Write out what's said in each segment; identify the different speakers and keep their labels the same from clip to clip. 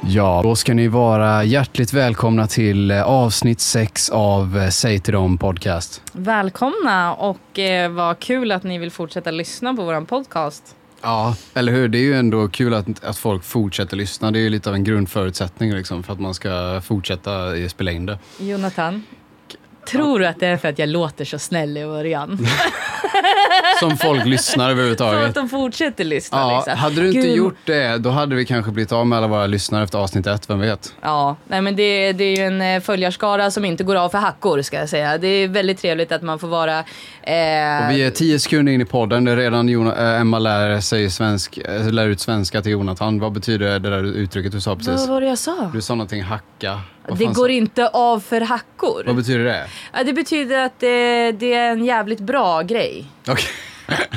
Speaker 1: Ja, då ska ni vara hjärtligt välkomna till eh, avsnitt 6 av eh, Säg till dem podcast.
Speaker 2: Välkomna och eh, vad kul att ni vill fortsätta lyssna på vår podcast.
Speaker 1: Ja, eller hur? Det är ju ändå kul att, att folk fortsätter lyssna. Det är ju lite av en grundförutsättning liksom, för att man ska fortsätta eh, spela in det.
Speaker 2: Jonathan, tror du att det är för att jag låter så snäll i början?
Speaker 1: Som folk lyssnar
Speaker 2: Så att
Speaker 1: överhuvudtaget.
Speaker 2: de fortsätter lyssna
Speaker 1: Ja,
Speaker 2: liksom.
Speaker 1: hade du inte
Speaker 2: Gud.
Speaker 1: gjort det, då hade vi kanske blivit av med alla våra lyssnare efter avsnitt ett, vem vet?
Speaker 2: Ja, nej men det, det är ju en eh, följarskara som inte går av för hackor ska jag säga. Det är väldigt trevligt att man får vara... Eh,
Speaker 1: Och vi är tio sekunder in i podden, det är redan Jona, eh, Emma lär, sig svensk, eh, lär ut svenska till Jonathan. Vad betyder det där uttrycket du sa precis?
Speaker 2: Vad var det jag sa?
Speaker 1: Du sa någonting hacka. Vad
Speaker 2: Det
Speaker 1: fan
Speaker 2: går
Speaker 1: sa-
Speaker 2: inte av för hackor.
Speaker 1: Vad betyder det?
Speaker 2: Ja, det betyder att det, det är en jävligt bra grej.
Speaker 1: Okej.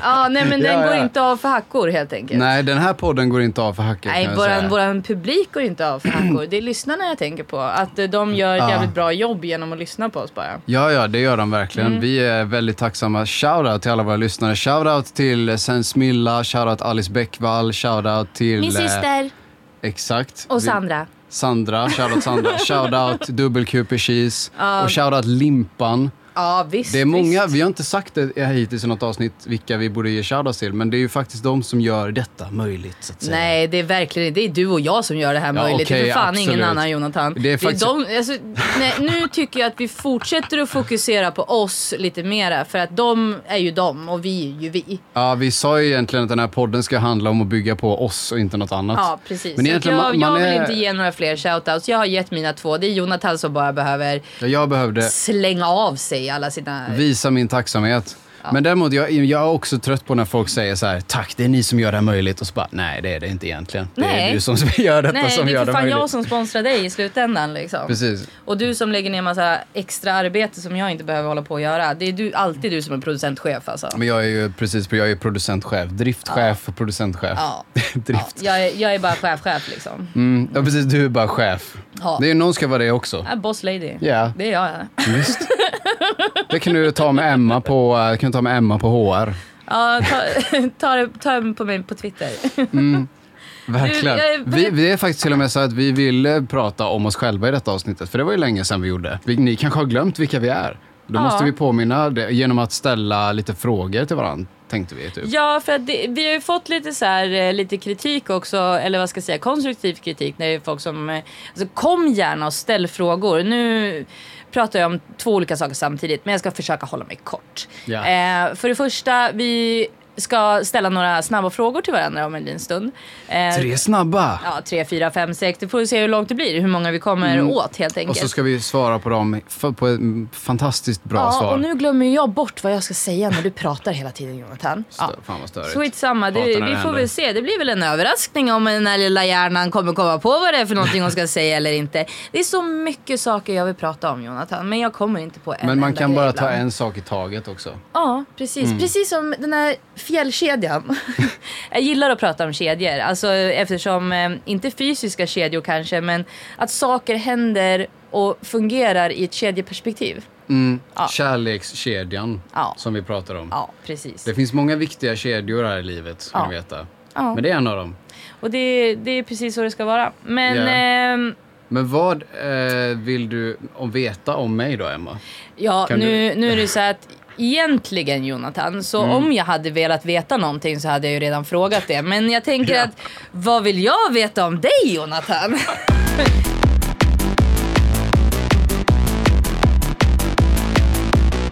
Speaker 2: Ja, nej men
Speaker 1: Ja,
Speaker 2: den går
Speaker 1: ja.
Speaker 2: inte av för hackor helt enkelt.
Speaker 1: Nej, den här podden går inte av för hackor
Speaker 2: Nej,
Speaker 1: kan jag
Speaker 2: våran,
Speaker 1: säga.
Speaker 2: våran publik går inte av för hackor. Det är lyssnarna jag tänker på. Att eh, de gör ett
Speaker 1: Ja.
Speaker 2: jävligt bra jobb genom att lyssna på oss bara.
Speaker 1: Ja, ja, det gör de verkligen.
Speaker 2: Mm.
Speaker 1: Vi är väldigt tacksamma. Shoutout till alla våra lyssnare. Shoutout till Sen Smilla, shoutout Alice Bäckvall, shoutout till...
Speaker 2: Min
Speaker 1: Eh,
Speaker 2: syster
Speaker 1: exakt.
Speaker 2: och
Speaker 1: Vi-
Speaker 2: Sandra.
Speaker 1: Sandra, shoutout Sandra. shoutout Dubbelkuper Cheese. Och shoutout Limpan.
Speaker 2: Ja, visst.
Speaker 1: Det är många,
Speaker 2: visst.
Speaker 1: vi har inte sagt det hittills i något avsnitt vilka vi borde ge shoutout till, men det är ju faktiskt de som gör detta möjligt. Så att säga.
Speaker 2: Nej, det är verkligen det är du och jag som gör det här
Speaker 1: Ja,
Speaker 2: möjligt. det är
Speaker 1: okej,
Speaker 2: för fan ingen
Speaker 1: absolut.
Speaker 2: annan Jonathan.
Speaker 1: Det är faktiskt-
Speaker 2: de, alltså, nej, nu tycker jag att vi fortsätter att fokusera på oss lite mera. För att de är ju de och vi är ju vi.
Speaker 1: Ja, vi sa ju egentligen att den här podden ska handla om att bygga på oss och inte något annat.
Speaker 2: Ja, precis.
Speaker 1: Men
Speaker 2: Så
Speaker 1: egentligen,
Speaker 2: jag,
Speaker 1: man, man
Speaker 2: jag vill
Speaker 1: är...
Speaker 2: inte ge några fler shoutouts. Jag har gett mina två. Det är Jonathan som bara behöver
Speaker 1: Ja, Jag behövde
Speaker 2: slänga av sig alla sina...
Speaker 1: visa min tacksamhet. Men däremot, jag, jag är också trött på när folk säger så här, tack, det är ni som gör det här möjligt. Och så bara, nej, det är det inte egentligen. Det är
Speaker 2: Nej.
Speaker 1: du som gör detta
Speaker 2: Nej,
Speaker 1: som
Speaker 2: det är
Speaker 1: gör
Speaker 2: för
Speaker 1: det
Speaker 2: fan
Speaker 1: möjligt.
Speaker 2: jag som sponsrar dig i slutändan liksom.
Speaker 1: Precis.
Speaker 2: Och du som lägger ner massa extra arbete som jag inte behöver hålla på och göra. Det är du, alltid du som är producentchef alltså.
Speaker 1: Men jag är ju precis, jag är producentchef, driftchef och producentchef.
Speaker 2: Ja. Ja,
Speaker 1: Drift.
Speaker 2: jag, är, jag är bara chef-chef liksom.
Speaker 1: Mm. ja, precis, du är bara chef.
Speaker 2: Ja.
Speaker 1: Det är, någon ska vara det också.
Speaker 2: Jag är boss lady.
Speaker 1: Ja,
Speaker 2: Det är jag. ja.
Speaker 1: visst. Det kan du ta med Emma på, eh, kan du ta med Emma på HR.
Speaker 2: Ja, ta, ta, det- ta det på mig på Twitter.
Speaker 1: Verkligen.
Speaker 2: Du, jag är-
Speaker 1: Vi, vi är faktiskt till och med så att vi ville prata om oss själva i detta avsnittet, för det var ju länge sedan vi gjorde. Vi, ni kanske har glömt vilka vi är. Då
Speaker 2: Ja.
Speaker 1: måste vi påminna det genom att ställa lite frågor till varandra, tänkte vi. Typ.
Speaker 2: Ja, för att det, vi har ju fått lite, så här, eh, lite kritik också, eller vad ska jag säga, konstruktiv kritik. När det är folk som, eh, alltså, kom gärna och ställ frågor. Nu pratar jag om två olika saker samtidigt, men jag ska försöka hålla mig kort.
Speaker 1: Ja.
Speaker 2: Eh, för det första, vi ska ställa några snabba frågor till varandra om en liten stund. Eh,
Speaker 1: Tre snabba!
Speaker 2: Ja, tre, fyra, fem, sex. Det får vi se hur långt det blir, hur många vi kommer åt helt
Speaker 1: Mm. Och
Speaker 2: enkelt.
Speaker 1: så ska vi svara på dem f- på ett mm, fantastiskt bra
Speaker 2: ja,
Speaker 1: svar.
Speaker 2: och nu glömmer jag bort vad jag ska säga när du pratar hela tiden Jonathan. Ja.
Speaker 1: Stö- Fan vad störigt.
Speaker 2: Skitsamma, det,
Speaker 1: Hatar när
Speaker 2: vi
Speaker 1: det
Speaker 2: får
Speaker 1: händer.
Speaker 2: väl se. Det blir väl en överraskning om den här lilla hjärnan kommer komma på vad det är för någonting hon ska säga eller inte. Det är så mycket saker jag vill prata om Jonathan, men jag kommer inte på en
Speaker 1: Men man
Speaker 2: enda
Speaker 1: kan
Speaker 2: grej
Speaker 1: bara
Speaker 2: ibland.
Speaker 1: ta en Mm. sak i taget också.
Speaker 2: Ja, precis. Precis som den här fjällkedjan. jag gillar att prata om kedjor. Alltså, eftersom, eh, inte fysiska kedjor kanske, men att saker händer och fungerar i ett kedjeperspektiv.
Speaker 1: Mm.
Speaker 2: Ja.
Speaker 1: Kärlekskedjan
Speaker 2: Ja.
Speaker 1: som vi pratar om.
Speaker 2: Ja, precis.
Speaker 1: Det finns många viktiga kedjor här i livet, ska
Speaker 2: Ja.
Speaker 1: ni veta.
Speaker 2: Ja.
Speaker 1: Men det är en av dem.
Speaker 2: Och det, det är precis så det ska vara. Men ehm,
Speaker 1: Men vad eh, vill du om veta om mig då, Emma?
Speaker 2: ja,
Speaker 1: Kan
Speaker 2: nu, nu är det så här att egentligen Jonathan, så
Speaker 1: Mm.
Speaker 2: om jag hade velat veta någonting så hade jag ju redan frågat det. Men jag tänker
Speaker 1: Ja.
Speaker 2: att vad vill jag veta om dig Jonathan?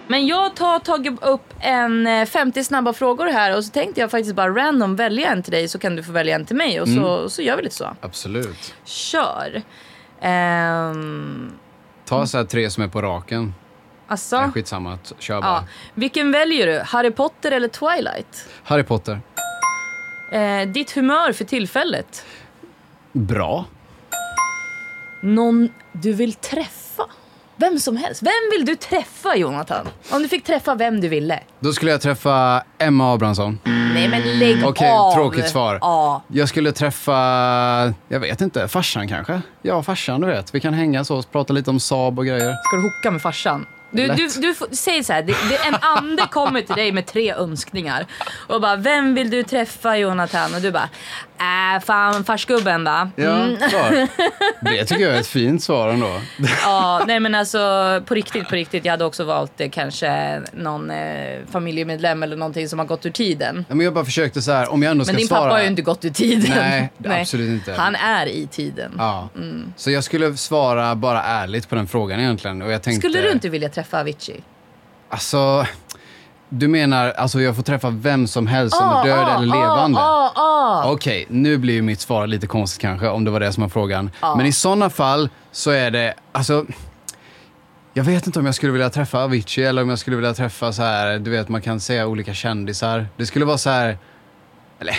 Speaker 2: Men jag har tagit upp en eh, 50 snabba frågor här och så tänkte jag faktiskt bara random välja en till dig så kan du få välja en till mig och så,
Speaker 1: Mm.
Speaker 2: så gör vi lite så.
Speaker 1: Absolut.
Speaker 2: Kör. Ehm,
Speaker 1: Ta så här tre som är på raken.
Speaker 2: alltså,
Speaker 1: Ja. Skitsamma, t- kör bara.
Speaker 2: ja. Vilken väljer du? Harry Potter eller Twilight?
Speaker 1: Harry Potter.
Speaker 2: Eh, ditt humör för tillfället?
Speaker 1: Bra.
Speaker 2: Någon du vill träffa? Vem som helst. Vem vill du träffa Jonathan? Om du fick träffa vem du ville.
Speaker 1: Då skulle jag träffa Emma Abrahamsson.
Speaker 2: Nej men lägg
Speaker 1: Okej,
Speaker 2: av!
Speaker 1: tråkigt svar.
Speaker 2: Ja.
Speaker 1: Jag skulle träffa, jag vet inte, farsan kanske? Ja, farsan du vet. Vi kan hänga så och prata lite om Saab och grejer.
Speaker 2: Ska du hooka med farsan? Du,
Speaker 1: Lätt.
Speaker 2: du, du får- säger så här, det, det, en ande kommer till dig med tre önskningar. Och bara, vem vill du träffa Jonathan? Och du bara, äh, fan farsgubben va?
Speaker 1: Ja,
Speaker 2: Mm.
Speaker 1: klar. Mm. Det tycker jag är ett fint svar ändå.
Speaker 2: Ja, nej men alltså på riktigt, på riktigt. Jag hade också valt eh, kanske någon eh, familjemedlem eller någonting som har gått ur tiden.
Speaker 1: Ja, Men jag bara försökte så här, om jag ändå ska
Speaker 2: Men din
Speaker 1: svara.
Speaker 2: pappa har ju inte gått ur tiden.
Speaker 1: Nej, absolut inte.
Speaker 2: Han är i tiden.
Speaker 1: Ja.
Speaker 2: Mm.
Speaker 1: Så jag skulle svara bara ärligt på den frågan egentligen. Och jag tänkte,
Speaker 2: Skulle du inte vilja träffa Avicii?
Speaker 1: Alltså, du menar, alltså jag får träffa vem som helst som
Speaker 2: Ah,
Speaker 1: är död
Speaker 2: ah,
Speaker 1: eller levande?
Speaker 2: ah, ah, ah.
Speaker 1: Okej, nu blir ju mitt svar lite konstigt kanske, om det var det som var frågan.
Speaker 2: Ah.
Speaker 1: Men i sådana fall så är det, alltså... Jag vet inte om jag skulle vilja träffa Avicii eller om jag skulle vilja träffa så här, du vet man kan säga olika kändisar. Det skulle vara så här, eller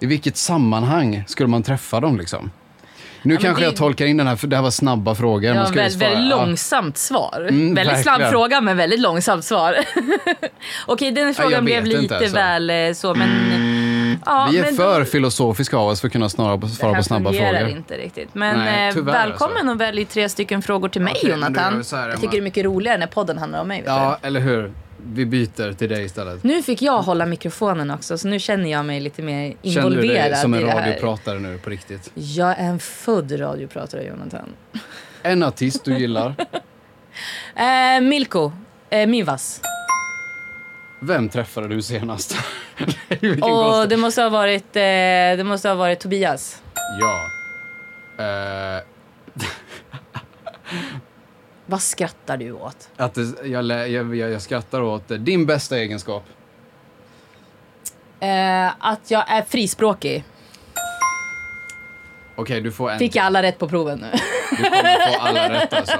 Speaker 1: i vilket sammanhang skulle man träffa dem liksom? Nu
Speaker 2: men
Speaker 1: kanske
Speaker 2: det-
Speaker 1: jag tolkar in den här, för det här var snabba frågor.
Speaker 2: Ja,
Speaker 1: man skulle
Speaker 2: väldigt,
Speaker 1: svara-
Speaker 2: väldigt
Speaker 1: ja.
Speaker 2: långsamt svar.
Speaker 1: Mm,
Speaker 2: väldigt snabb
Speaker 1: verkligen.
Speaker 2: fråga men väldigt långsamt svar. Okej, den frågan
Speaker 1: jag
Speaker 2: blev
Speaker 1: vet inte,
Speaker 2: lite
Speaker 1: alltså. Mm.
Speaker 2: väl eh, så men... Ja,
Speaker 1: Vi är
Speaker 2: men
Speaker 1: för
Speaker 2: då-
Speaker 1: filosofiska av oss för att kunna snara på,
Speaker 2: det
Speaker 1: svara
Speaker 2: här
Speaker 1: på snabba
Speaker 2: fungerar
Speaker 1: frågor.
Speaker 2: inte riktigt. Men
Speaker 1: Nej,
Speaker 2: eh,
Speaker 1: tyvärr,
Speaker 2: välkommen
Speaker 1: alltså.
Speaker 2: och välj tre stycken frågor till mig
Speaker 1: Okej, men då gör
Speaker 2: Jonathan.
Speaker 1: vi så här,
Speaker 2: jag
Speaker 1: Emma.
Speaker 2: tycker det är mycket roligare när podden handlar om mig. Vet
Speaker 1: Ja, eller hur? Vi byter till dig istället.
Speaker 2: du? Nu fick jag hålla mikrofonen också så nu känner jag mig lite mer
Speaker 1: Känner
Speaker 2: involverad
Speaker 1: du dig som
Speaker 2: i
Speaker 1: en
Speaker 2: det här.
Speaker 1: radiopratare nu på riktigt?
Speaker 2: Jag är en född radiopratare Jonathan.
Speaker 1: En artist du gillar.
Speaker 2: Eh, Milko, eh, Mivas.
Speaker 1: Vem träffade du senast? Vilken
Speaker 2: Och
Speaker 1: konstig-
Speaker 2: det måste ha varit, eh, det måste ha varit Tobias.
Speaker 1: Ja. Eh,
Speaker 2: Vad skrattar du åt?
Speaker 1: att det, jag, lä- jag, jag, jag skrattar åt eh, din bästa egenskap.
Speaker 2: Eh, att jag är frispråkig.
Speaker 1: Okej, du får en.
Speaker 2: Fick jag alla rätt på proven nu?
Speaker 1: Du kommer få alla rätt alltså.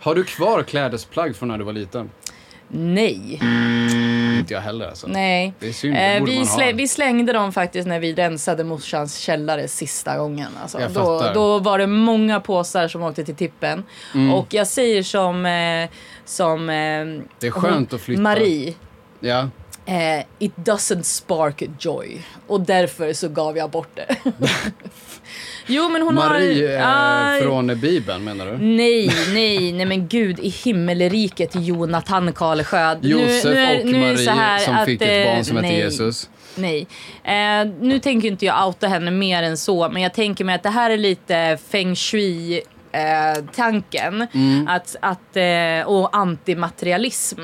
Speaker 1: Har du kvar klädesplagg från när du var liten?
Speaker 2: Nej.
Speaker 1: Inte jag heller alltså.
Speaker 2: Mm. Nej.
Speaker 1: Det är synd, det
Speaker 2: Eh,
Speaker 1: borde
Speaker 2: vi,
Speaker 1: man ha.
Speaker 2: slä, vi slängde dem faktiskt när vi rensade morsans källare sista gången. Alltså,
Speaker 1: Jag
Speaker 2: då,
Speaker 1: fattar. Mm.
Speaker 2: då var det många påsar som åkte till tippen. Och jag säger som, eh, som eh,
Speaker 1: Det är skönt att flytta.
Speaker 2: Marie.
Speaker 1: Ja.
Speaker 2: Eh, it doesn't spark joy. Och därför så gav jag bort det. jo men hon
Speaker 1: Marie eh,
Speaker 2: har... Aj.
Speaker 1: från Bibeln menar du?
Speaker 2: Nej, nej, nej men gud i himmelriket Jonathan Karlsköld.
Speaker 1: Josef
Speaker 2: är-
Speaker 1: och
Speaker 2: är det
Speaker 1: Marie
Speaker 2: så här
Speaker 1: som
Speaker 2: att,
Speaker 1: fick ett
Speaker 2: eh,
Speaker 1: barn som hette
Speaker 2: nej,
Speaker 1: Jesus.
Speaker 2: Nej. Eh, nu tänker inte jag outa henne mer än så, men jag tänker mig att det här är lite feng shui eh, tanken
Speaker 1: Mm.
Speaker 2: att, att, eh, och antimaterialism.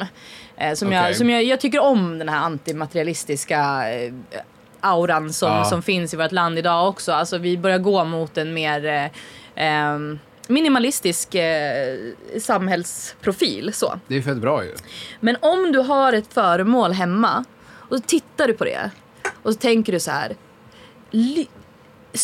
Speaker 2: Eh, som jag,
Speaker 1: Okej.
Speaker 2: som jag, jag tycker om den här antimaterialistiska eh, auran som,
Speaker 1: Ja.
Speaker 2: som finns i vårt land idag också. Alltså vi börjar gå mot en mer eh, eh, minimalistisk eh, samhällsprofil. Så.
Speaker 1: Det är fett bra ju.
Speaker 2: Men om du har ett föremål hemma och så tittar du på det och så tänker du så här. "Ly-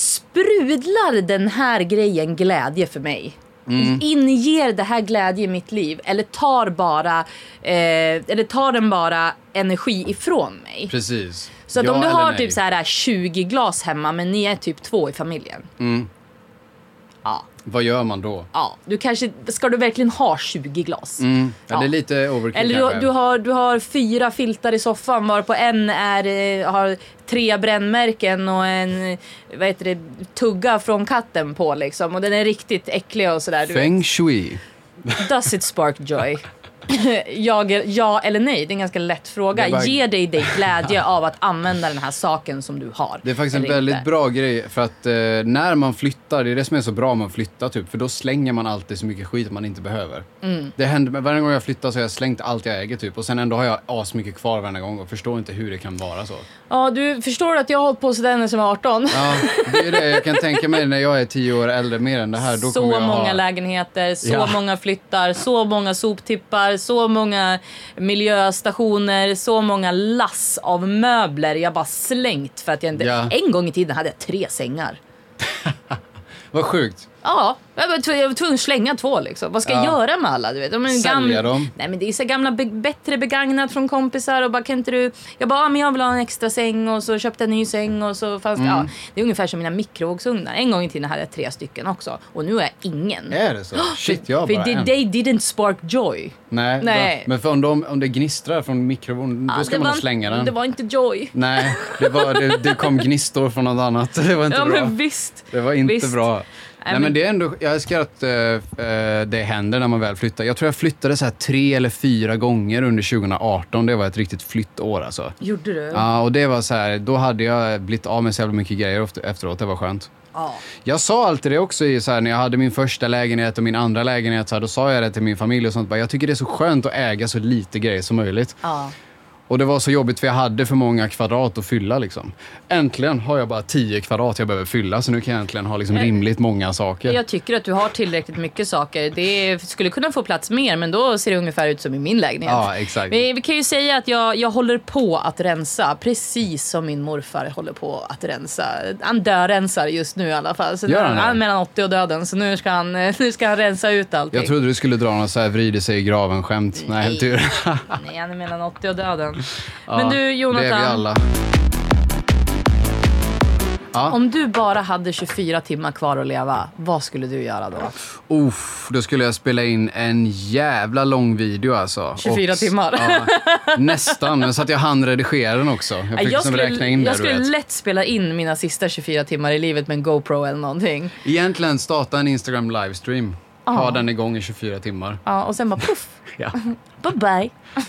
Speaker 2: Sprudlar den här grejen glädje för mig?
Speaker 1: Mm.
Speaker 2: Inger det här glädje i mitt liv? Eller tar, bara, eh, eller tar den bara energi ifrån mig?
Speaker 1: Precis.
Speaker 2: Så att
Speaker 1: Ja
Speaker 2: om du
Speaker 1: eller
Speaker 2: har
Speaker 1: nej?
Speaker 2: typ så här 20 glas hemma men ni är typ två i familjen.
Speaker 1: Mm.
Speaker 2: Ja,
Speaker 1: Vad gör man då?
Speaker 2: ja. Du kanske, ska du verkligen ha 20 glas?
Speaker 1: Mm. Ja,
Speaker 2: Ja.
Speaker 1: Det är lite overkill
Speaker 2: Eller
Speaker 1: kanske.
Speaker 2: du, du, har, du har fyra filtar i soffan varpå en är, eh, har tre brännmärken och en eh, vad heter det, tugga från katten på liksom. Och den är riktigt äcklig och sådär. Du vet.
Speaker 1: Feng shui.
Speaker 2: Does it spark joy? Jag, är- ja eller nej? Det är en ganska lätt fråga.
Speaker 1: Det var-
Speaker 2: Ger dig dig glädje av att använda den här saken som du har?
Speaker 1: Det är faktiskt
Speaker 2: eller
Speaker 1: en väldigt
Speaker 2: inte?
Speaker 1: bra grej för att eh, när man flyttar, det är det som är så bra med att flytta typ, för då slänger man alltid så mycket skit man inte behöver.
Speaker 2: Mm.
Speaker 1: Det händer, men varje gång jag flyttar så har jag slängt allt jag äger typ och sen ändå har jag asmycket kvar varje gång och förstår inte hur det kan vara så.
Speaker 2: Ja, du förstår att jag har hållit på sådär när jag var 18.
Speaker 1: Ja, det är det jag kan tänka mig när jag är tio år äldre mer än det här. Då
Speaker 2: så
Speaker 1: kommer jag
Speaker 2: många
Speaker 1: ha...
Speaker 2: lägenheter, så
Speaker 1: Ja.
Speaker 2: många flyttar, så många soptippar, så många miljöstationer, så många lass av möbler jag bara slängt för att jag inte...
Speaker 1: Ja.
Speaker 2: En gång i tiden hade jag tre sängar.
Speaker 1: Vad sjukt.
Speaker 2: Ja, jag var, tv- jag var tvungen att slänga två liksom. Vad ska jag
Speaker 1: Ja.
Speaker 2: göra med alla? Du vet? De är
Speaker 1: Sälja
Speaker 2: gamla-
Speaker 1: dem?
Speaker 2: Nej men det är så gamla, be- bättre begagnat från kompisar och bara kan inte du... Jag bara, ah, men jag vill ha en extra säng och så köpte jag en ny säng och så fanns det...
Speaker 1: Mm.
Speaker 2: Ja, det är ungefär som mina mikrovågsugnar. En gång i tiden hade jag tre stycken också och nu har jag ingen.
Speaker 1: Är det så? Shit, jag har
Speaker 2: För
Speaker 1: bara
Speaker 2: they,
Speaker 1: en.
Speaker 2: they didn't spark joy.
Speaker 1: Nej,
Speaker 2: Nej.
Speaker 1: då- men för om, de, om det gnistrar från mikrovågen,
Speaker 2: Ja,
Speaker 1: då ska
Speaker 2: det
Speaker 1: man
Speaker 2: var
Speaker 1: nog slänga
Speaker 2: inte-
Speaker 1: den.
Speaker 2: Det var inte joy.
Speaker 1: Nej, det, var, det, det kom gnistor från något annat. Det var inte
Speaker 2: Ja
Speaker 1: bra.
Speaker 2: men visst.
Speaker 1: Det var inte
Speaker 2: visst.
Speaker 1: bra. Nej, men det är ändå, jag älskar att eh, eh, det händer när man väl flyttar. Jag tror jag flyttade så här tre eller fyra gånger under 2018. Det var ett riktigt flyttår alltså.
Speaker 2: Gjorde du?
Speaker 1: Ja, och det var så här, då hade jag blivit av med så jävla mycket grejer efter- efteråt. Det var skönt.
Speaker 2: Ja.
Speaker 1: Jag sa alltid det också i, så här, när jag hade min första lägenhet och min andra lägenhet. Så här, då sa jag det till min familj och sånt. Bara, jag tycker det är så skönt att äga så lite grejer som möjligt.
Speaker 2: ja.
Speaker 1: Och det var så jobbigt för jag hade för många kvadrat att fylla. Liksom. Äntligen har jag bara 10 kvadrat jag behöver fylla. Så nu kan jag äntligen ha liksom, rimligt många saker.
Speaker 2: Jag tycker att du har tillräckligt mycket saker. Det skulle kunna få plats mer, men då ser det ungefär ut som i min lägenhet.
Speaker 1: Ja, exakt.
Speaker 2: Vi, vi kan ju säga att jag, jag håller på att rensa, precis som min morfar håller på att rensa. Han dörrensar just nu i alla fall. Så
Speaker 1: Gör han det?
Speaker 2: han är mellan 80 och döden, så nu ska han, nu ska han rensa ut allting.
Speaker 1: Jag trodde du skulle dra något så här vrider sig i graven-skämt. Nej,
Speaker 2: Nej.
Speaker 1: tur.
Speaker 2: Nej, han är mellan 80 och döden.
Speaker 1: Ja,
Speaker 2: Men du,
Speaker 1: Det är vi
Speaker 2: Jonathan.
Speaker 1: alla. Ja.
Speaker 2: Om du bara hade 24 timmar kvar att leva, vad skulle du göra då?
Speaker 1: Uff, då skulle jag spela in en jävla lång video alltså.
Speaker 2: 24 timmar.
Speaker 1: Ja, nästan, men så att jag hann redigera den också. Jag fick
Speaker 2: Nej,
Speaker 1: liksom räkna in det,
Speaker 2: jag
Speaker 1: du
Speaker 2: skulle
Speaker 1: vet.
Speaker 2: lätt spela in mina sista 24 timmar i livet med en GoPro eller någonting.
Speaker 1: Egentligen starta en Instagram livestream. Ha
Speaker 2: Ja.
Speaker 1: den igång i 24 timmar.
Speaker 2: Ja, och sen bara puff,
Speaker 1: Ja.
Speaker 2: bye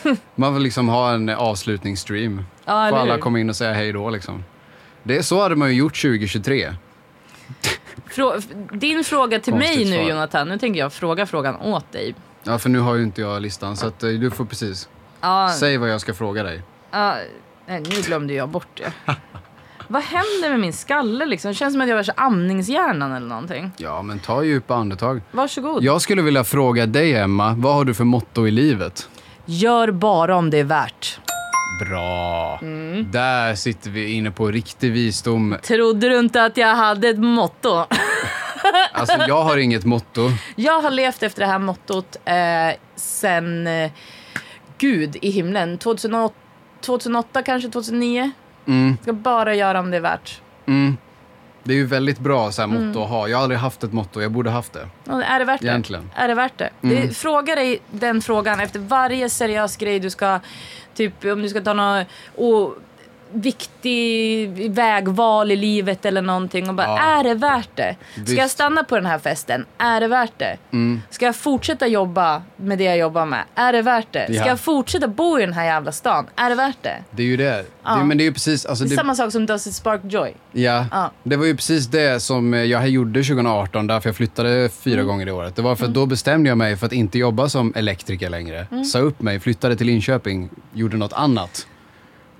Speaker 2: bye.
Speaker 1: Man vill liksom ha en avslutningsstream.
Speaker 2: Ja,
Speaker 1: Får
Speaker 2: eller
Speaker 1: alla
Speaker 2: hur?
Speaker 1: komma in och säga hej då liksom. Det är så hade man ju gjort 2023.
Speaker 2: Frå- din fråga till
Speaker 1: Konstigt
Speaker 2: mig nu
Speaker 1: svar.
Speaker 2: Jonathan, nu tänker jag fråga frågan åt dig.
Speaker 1: Ja, för nu har ju inte jag listan så att eh, du får precis.
Speaker 2: Ja,
Speaker 1: Säg vad jag ska fråga dig.
Speaker 2: ja, nej, nu glömde jag bort det. Vad händer med min skalle liksom? Det känns som att jag har så amningshjärnan eller någonting.
Speaker 1: Ja, men ta djupa andetag.
Speaker 2: Varsågod.
Speaker 1: Jag skulle vilja fråga dig, Emma, vad har du för motto i livet?
Speaker 2: Gör bara om det är värt.
Speaker 1: Bra!
Speaker 2: Mm.
Speaker 1: Där sitter vi inne på riktig visdom.
Speaker 2: Trodde du inte att jag hade ett motto?
Speaker 1: Alltså, jag har inget motto.
Speaker 2: Jag har levt efter det här mottot eh, sen eh, Gud i himlen. 2008, 2008 kanske, 2009.
Speaker 1: Mm,
Speaker 2: Ska bara göra om det är värt.
Speaker 1: mm. Det är ju väldigt bra så här,
Speaker 2: Mm.
Speaker 1: motto att ha. Jag har aldrig haft ett motto, jag borde haft det.
Speaker 2: Ja, Är det värt det?
Speaker 1: Egentligen. Mm.
Speaker 2: Är det värt det? det? Fråga dig den frågan efter varje seriös grej du ska, typ om du ska ta någon och, viktig vägval i livet eller någonting och bara,
Speaker 1: Ja.
Speaker 2: är det värt det? Ska
Speaker 1: Visst. Mm.
Speaker 2: jag stanna på den här festen? Är det värt det? Ska jag fortsätta jobba med det jag jobbar med? Är det värt det? Ska
Speaker 1: Ja.
Speaker 2: jag fortsätta bo i den här jävla stan? Är det värt det?
Speaker 1: Det är ju det.
Speaker 2: Ja.
Speaker 1: det men det är ju precis... Alltså,
Speaker 2: Det är
Speaker 1: det,
Speaker 2: samma sak som Does it spark joy?
Speaker 1: ja,
Speaker 2: Ja.
Speaker 1: det var ju precis det som eh, jag gjorde 2018, därför jag flyttade fyra
Speaker 2: Mm.
Speaker 1: gånger i året. Det var för att då bestämde jag mig för att inte jobba som elektriker längre.
Speaker 2: Mm.
Speaker 1: Sa upp mig, flyttade till Linköping, gjorde något annat.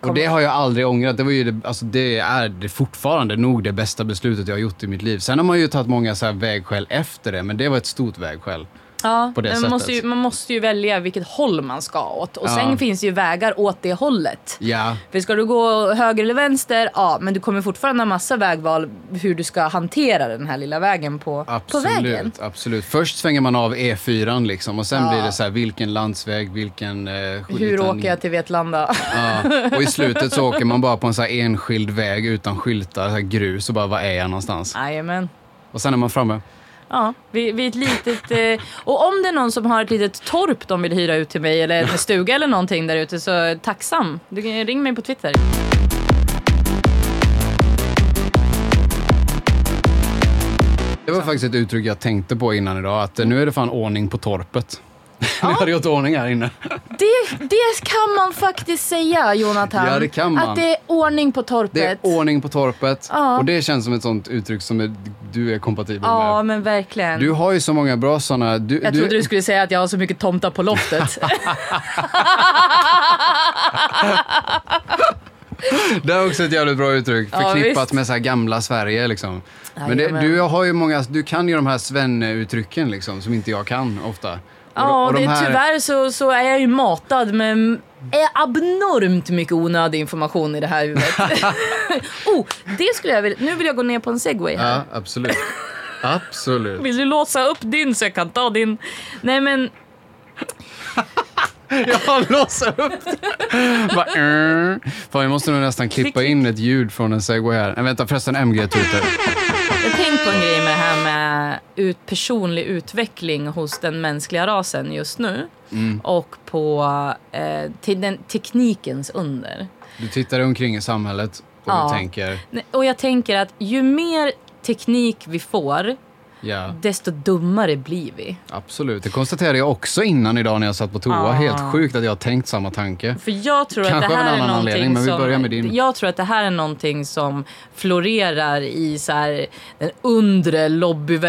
Speaker 1: Och det har jag aldrig ångrat. Det, var ju det, alltså det är det fortfarande nog det bästa beslutet jag har gjort i mitt liv. Sen har man ju tagit många så här vägskäl efter det, men det var ett stort vägskäl.
Speaker 2: Ja,
Speaker 1: På det
Speaker 2: men man, måste
Speaker 1: sättet.
Speaker 2: ju, man måste ju välja vilket håll man ska åt och
Speaker 1: Ja.
Speaker 2: sen finns ju vägar åt det hållet.
Speaker 1: Ja,
Speaker 2: För ska du gå höger eller vänster, ja, men du kommer fortfarande ha massa vägval hur du ska hantera den här lilla vägen på, på vägen.
Speaker 1: absolut. absolut. Först svänger man av E4 liksom och sen
Speaker 2: Ja.
Speaker 1: blir det så här vilken landsväg, vilken... Eh,
Speaker 2: Hur
Speaker 1: liten-
Speaker 2: åker jag till Vetlanda?
Speaker 1: Ja, och i slutet så åker man bara på en så här enskild väg utan skyltar, så här grus och bara var är jag någonstans?
Speaker 2: Jajamän.
Speaker 1: Och sen är man framme.
Speaker 2: Ja, vi, vi är ett litet... Eh, och om det är någon som har ett litet torp de vill hyra ut till mig eller en stuga eller någonting där ute så tacksam. Du kan ring mig på Twitter.
Speaker 1: Det var faktiskt ett uttryck jag tänkte på innan idag, att eh, nu är det fan ordning på torpet. Nu har det gjort ordning här inne.
Speaker 2: Det, det kan man faktiskt säga, Jonathan.
Speaker 1: Ja, det kan man.
Speaker 2: Att det är ordning på torpet.
Speaker 1: Det är ordning på torpet
Speaker 2: Ja.
Speaker 1: och det känns som ett sånt uttryck som är, du är kompatibel
Speaker 2: Ja,
Speaker 1: med.
Speaker 2: men verkligen.
Speaker 1: Du har ju så många bra såna... Du,
Speaker 2: jag
Speaker 1: du,
Speaker 2: trodde du skulle säga att jag har så mycket tomtar på loftet.
Speaker 1: Det är också ett jävligt bra uttryck,
Speaker 2: Ja,
Speaker 1: förknippat
Speaker 2: visst.
Speaker 1: med så här gamla Sverige liksom. Men det,
Speaker 2: Jajamän.
Speaker 1: du, har ju många, du kan ju de här svenne-uttrycken liksom, som inte jag kan ofta. Och-
Speaker 2: Ja,
Speaker 1: och
Speaker 2: det,
Speaker 1: de här-
Speaker 2: tyvärr så, så är jag ju matad med m- är abnormt mycket onödig information i det här huvudet. oh, det skulle jag vilja... Nu vill jag gå ner på en segway här.
Speaker 1: Ja, absolut. absolut.
Speaker 2: Vill du låsa upp din så jag kan ta din? Nej men,
Speaker 1: Jag låser upp det. Bara, "Mm." Fan, jag måste nog nästan klippa in ett ljud från en segway här. Nej, vänta, förresten MG tutar.
Speaker 2: jag tänkte på en grej med det här med ut, personlig utveckling hos den mänskliga rasen just nu.
Speaker 1: Mm.
Speaker 2: Och på eh, till den teknikens under.
Speaker 1: Du tittar omkring i samhället och
Speaker 2: Ja.
Speaker 1: du tänker,
Speaker 2: Nej, Och jag tänker att ju mer teknik vi får
Speaker 1: Ja,
Speaker 2: desto dummare blir vi.
Speaker 1: absolut. Det konstaterade jag också innan idag när jag satt på toa.
Speaker 2: Ah.
Speaker 1: Helt sjukt att jag har tänkt samma tanke.
Speaker 2: För jag tror
Speaker 1: Kanske
Speaker 2: att det
Speaker 1: av en
Speaker 2: här är
Speaker 1: annan
Speaker 2: någonting
Speaker 1: anledning, men vi
Speaker 2: som,
Speaker 1: börjar med din.
Speaker 2: Jag tror att det här är någonting som florerar i så här, den undre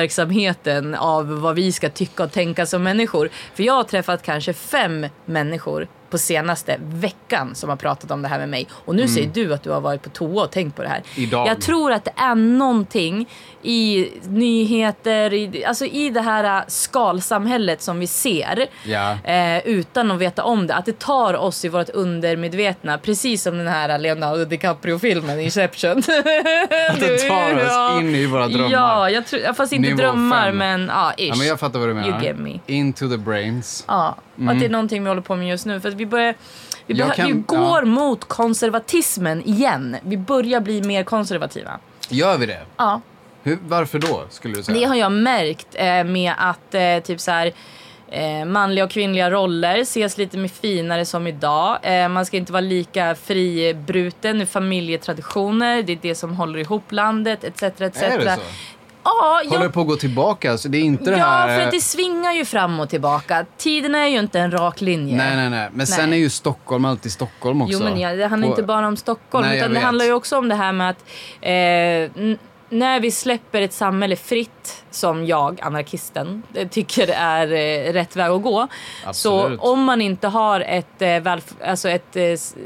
Speaker 2: lobbyverksamheten av vad vi ska tycka och tänka som människor. För jag har träffat kanske fem människor på senaste veckan som har pratat om det här med mig. Och nu säger du att du har varit på toa och tänkt på det här.
Speaker 1: Mm. Idag.
Speaker 2: Jag tror att det är någonting i nyheter, i, alltså i det här skalsamhället som vi ser
Speaker 1: Ja.
Speaker 2: eh, utan att veta om det. Att det tar oss i vårt undermedvetna, precis som den här Leonardo DiCaprio-filmen Inception. att
Speaker 1: Det tar oss in i våra drömmar.
Speaker 2: Ja, jag tror, ja, fast inte
Speaker 1: Nivå
Speaker 2: drömmar
Speaker 1: fem.
Speaker 2: men ja, ish.
Speaker 1: Ja, men jag fattar vad du menar.
Speaker 2: You get me.
Speaker 1: Into the brains.
Speaker 2: Ja, och att det är någonting vi håller på med just nu. För att vi börjar... Vi,
Speaker 1: Mm. Jag
Speaker 2: behö- vi
Speaker 1: kan-
Speaker 2: går
Speaker 1: ja.
Speaker 2: mot konservatismen igen. Vi börjar bli mer konservativa.
Speaker 1: Gör vi det?
Speaker 2: Ja,
Speaker 1: Hur, varför då, skulle du säga?
Speaker 2: det har jag märkt eh, med att eh, typ så här, eh, manliga och kvinnliga roller ses lite mer finare som idag. Eh, man ska inte vara lika fribruten i familjetraditioner. Det är det som håller ihop landet etc. etc.
Speaker 1: Är det så?
Speaker 2: Ja,
Speaker 1: Håller
Speaker 2: jag
Speaker 1: det på att gå tillbaka? Så det är inte det
Speaker 2: Ja,
Speaker 1: här...
Speaker 2: för att det svingar ju fram och tillbaka. Tiden är ju inte en rak linje.
Speaker 1: eh, Nej, nej, nej. Men sen är
Speaker 2: Nej.
Speaker 1: ju Stockholm alltid Stockholm också.
Speaker 2: Jo, men ja, det handlar
Speaker 1: Och-
Speaker 2: inte bara om Stockholm,
Speaker 1: Nej, jag
Speaker 2: utan det
Speaker 1: vet.
Speaker 2: handlar ju också om det här med att eh, n- när vi släpper ett samhälle fritt, som jag, anarkisten, eh, tycker är eh, rätt väg att gå.
Speaker 1: Absolut.
Speaker 2: Så om man inte har ett, eh, välf- alltså ett, eh, s-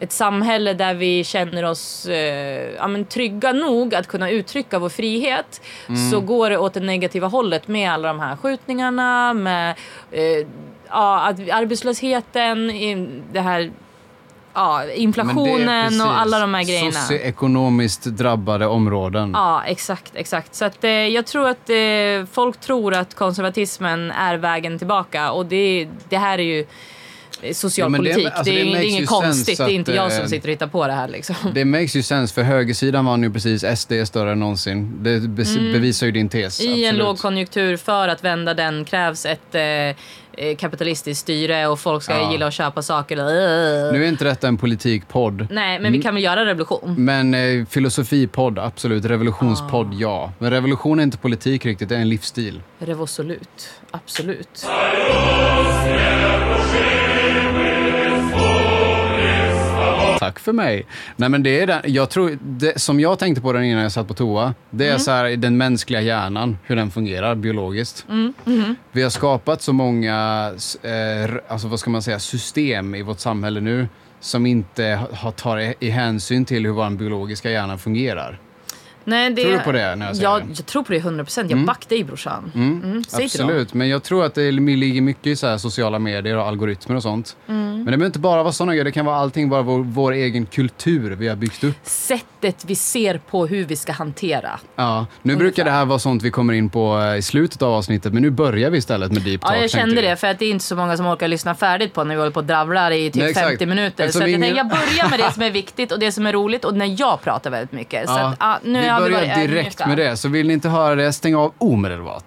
Speaker 2: ett samhälle där vi känner oss eh, ja, men trygga nog att kunna uttrycka vår frihet
Speaker 1: Mm.
Speaker 2: så går det åt det negativa hållet med alla de här skjutningarna, med eh, ja, att arbetslösheten, i- det här, ja,
Speaker 1: Men det är
Speaker 2: inflationen
Speaker 1: precis
Speaker 2: och alla de här grejerna.
Speaker 1: Socioekonomiskt drabbade områden.
Speaker 2: Ja, exakt, exakt. Så att, eh, jag tror att eh, folk tror att konservatismen är vägen tillbaka och det, det här är ju eh,
Speaker 1: Ja, men det-
Speaker 2: socialpolitik. det,
Speaker 1: alltså, det
Speaker 2: är, det är
Speaker 1: makes ju
Speaker 2: inget konstigt,
Speaker 1: sense
Speaker 2: det är inte
Speaker 1: att,
Speaker 2: jag
Speaker 1: eh,
Speaker 2: som sitter och hittar på det här liksom.
Speaker 1: Det makes ju sense, för högersidan vann ju precis. SD är större än någonsin. Det be- bevisar ju din tes.
Speaker 2: Mm. I en
Speaker 1: absolut.
Speaker 2: lågkonjunktur, för att vända den krävs ett eh, eh, kapitalistiskt styre och folk ska
Speaker 1: Ja.
Speaker 2: gilla att köpa saker. Eh.
Speaker 1: Nu är inte detta en politikpodd.
Speaker 2: Nej, men vi kan väl göra revolution?
Speaker 1: Men eh, filosofipodd, absolut. Revolutionspodd, ja. Men revolution är inte politik riktigt, det är en livsstil.
Speaker 2: Revosolut, absolut.
Speaker 1: Tack för mig. Nej, men det är den, jag tror, det, som jag tänkte på den innan jag satt på toa, det är så här, den mänskliga hjärnan, hur den fungerar biologiskt. Vi har skapat så många eh, r- alltså, vad ska man säga, system i vårt samhälle nu som inte ha- har, tar i, i hänsyn till hur vår biologiska hjärna fungerar.
Speaker 2: Nej, det...
Speaker 1: Tror du på det när jag säger
Speaker 2: Ja,
Speaker 1: det?
Speaker 2: jag tror på det 100 procent. Jag backar dig brorsan. Mm, säg till dem.
Speaker 1: Absolut, men jag tror att det ligger mycket i så här sociala medier och algoritmer och sånt.
Speaker 2: Mm.
Speaker 1: Men det behöver inte bara vara sådana grejer, det kan vara allting, bara vår, vår egen kultur vi har byggt upp.
Speaker 2: sättet vi ser på hur vi ska hantera.
Speaker 1: Ja, nu brukar det här vara sånt vi kommer in på eh, i slutet av avsnittet, men nu börjar vi istället med deep talk.
Speaker 2: Ja, jag
Speaker 1: tänkte
Speaker 2: kände
Speaker 1: vi.
Speaker 2: det, för att det är inte så många som orkar lyssna färdigt på när vi håller på och dravlar i typ
Speaker 1: Nej, exakt.
Speaker 2: 50 minuter.
Speaker 1: Eftersom
Speaker 2: så att jag,
Speaker 1: ingen-
Speaker 2: tänkte, jag börjar med det som är viktigt och det som är roligt och när jag pratar väldigt mycket. Så
Speaker 1: Ja,
Speaker 2: att, ja, nu
Speaker 1: vi
Speaker 2: har vi
Speaker 1: börjar
Speaker 2: varit
Speaker 1: direkt
Speaker 2: ödmjuka.
Speaker 1: med det, så vill ni inte höra det, stäng av omedelbart.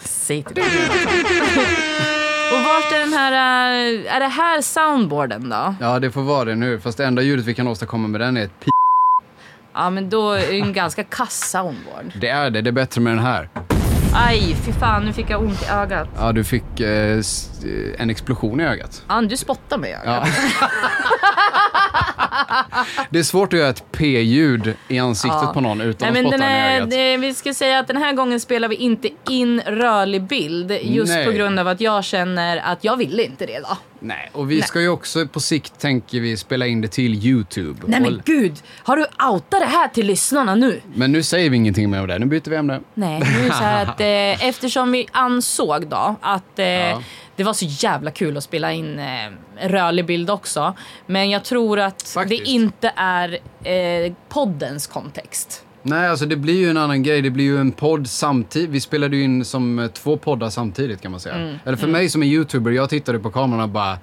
Speaker 2: Säg till dem. och vart är den här... äh, Är det här soundboarden då?
Speaker 1: Ja, det får vara det nu, fast det enda ljudet vi kan åstadkomma med den är ett pi.
Speaker 2: Ja, men då är det en ganska kass soundboard.
Speaker 1: Det är det, det är bättre med den här.
Speaker 2: Aj, fy fan, nu fick jag ont i ögat.
Speaker 1: Ja, du fick eh, s- eh, en explosion i ögat.
Speaker 2: Ja, du spottar mig i ögat.
Speaker 1: Ja. det är svårt att göra ett p-ljud i ansiktet
Speaker 2: Ja.
Speaker 1: på någon utan
Speaker 2: Nej,
Speaker 1: att
Speaker 2: men
Speaker 1: spotta
Speaker 2: den
Speaker 1: den i
Speaker 2: är,
Speaker 1: ögat.
Speaker 2: det, Vi ska säga att den här gången spelar vi inte in rörlig bild just
Speaker 1: Nej.
Speaker 2: på grund av att jag känner att jag ville inte det då.
Speaker 1: Nej, och vi ska ju också på sikt, tänker vi, spela in det till YouTube.
Speaker 2: Nej
Speaker 1: Och-
Speaker 2: men gud, har du outat det här till lyssnarna nu?
Speaker 1: Men nu säger vi ingenting mer om det. Nu byter vi ämne.
Speaker 2: Nej, nu är det så här att eh, eftersom vi ansåg då att eh,
Speaker 1: Ja.
Speaker 2: det var så jävla kul att spela in eh, rörlig bild också. Men jag tror att
Speaker 1: Faktiskt.
Speaker 2: det inte är eh, poddens kontext.
Speaker 1: Nej, alltså det blir ju en annan grej. Det blir ju en podd samtidigt. Vi spelade ju in som eh, två poddar samtidigt kan man säga.
Speaker 2: Mm.
Speaker 1: Eller för mig som är youtuber, jag tittade på kameran och bara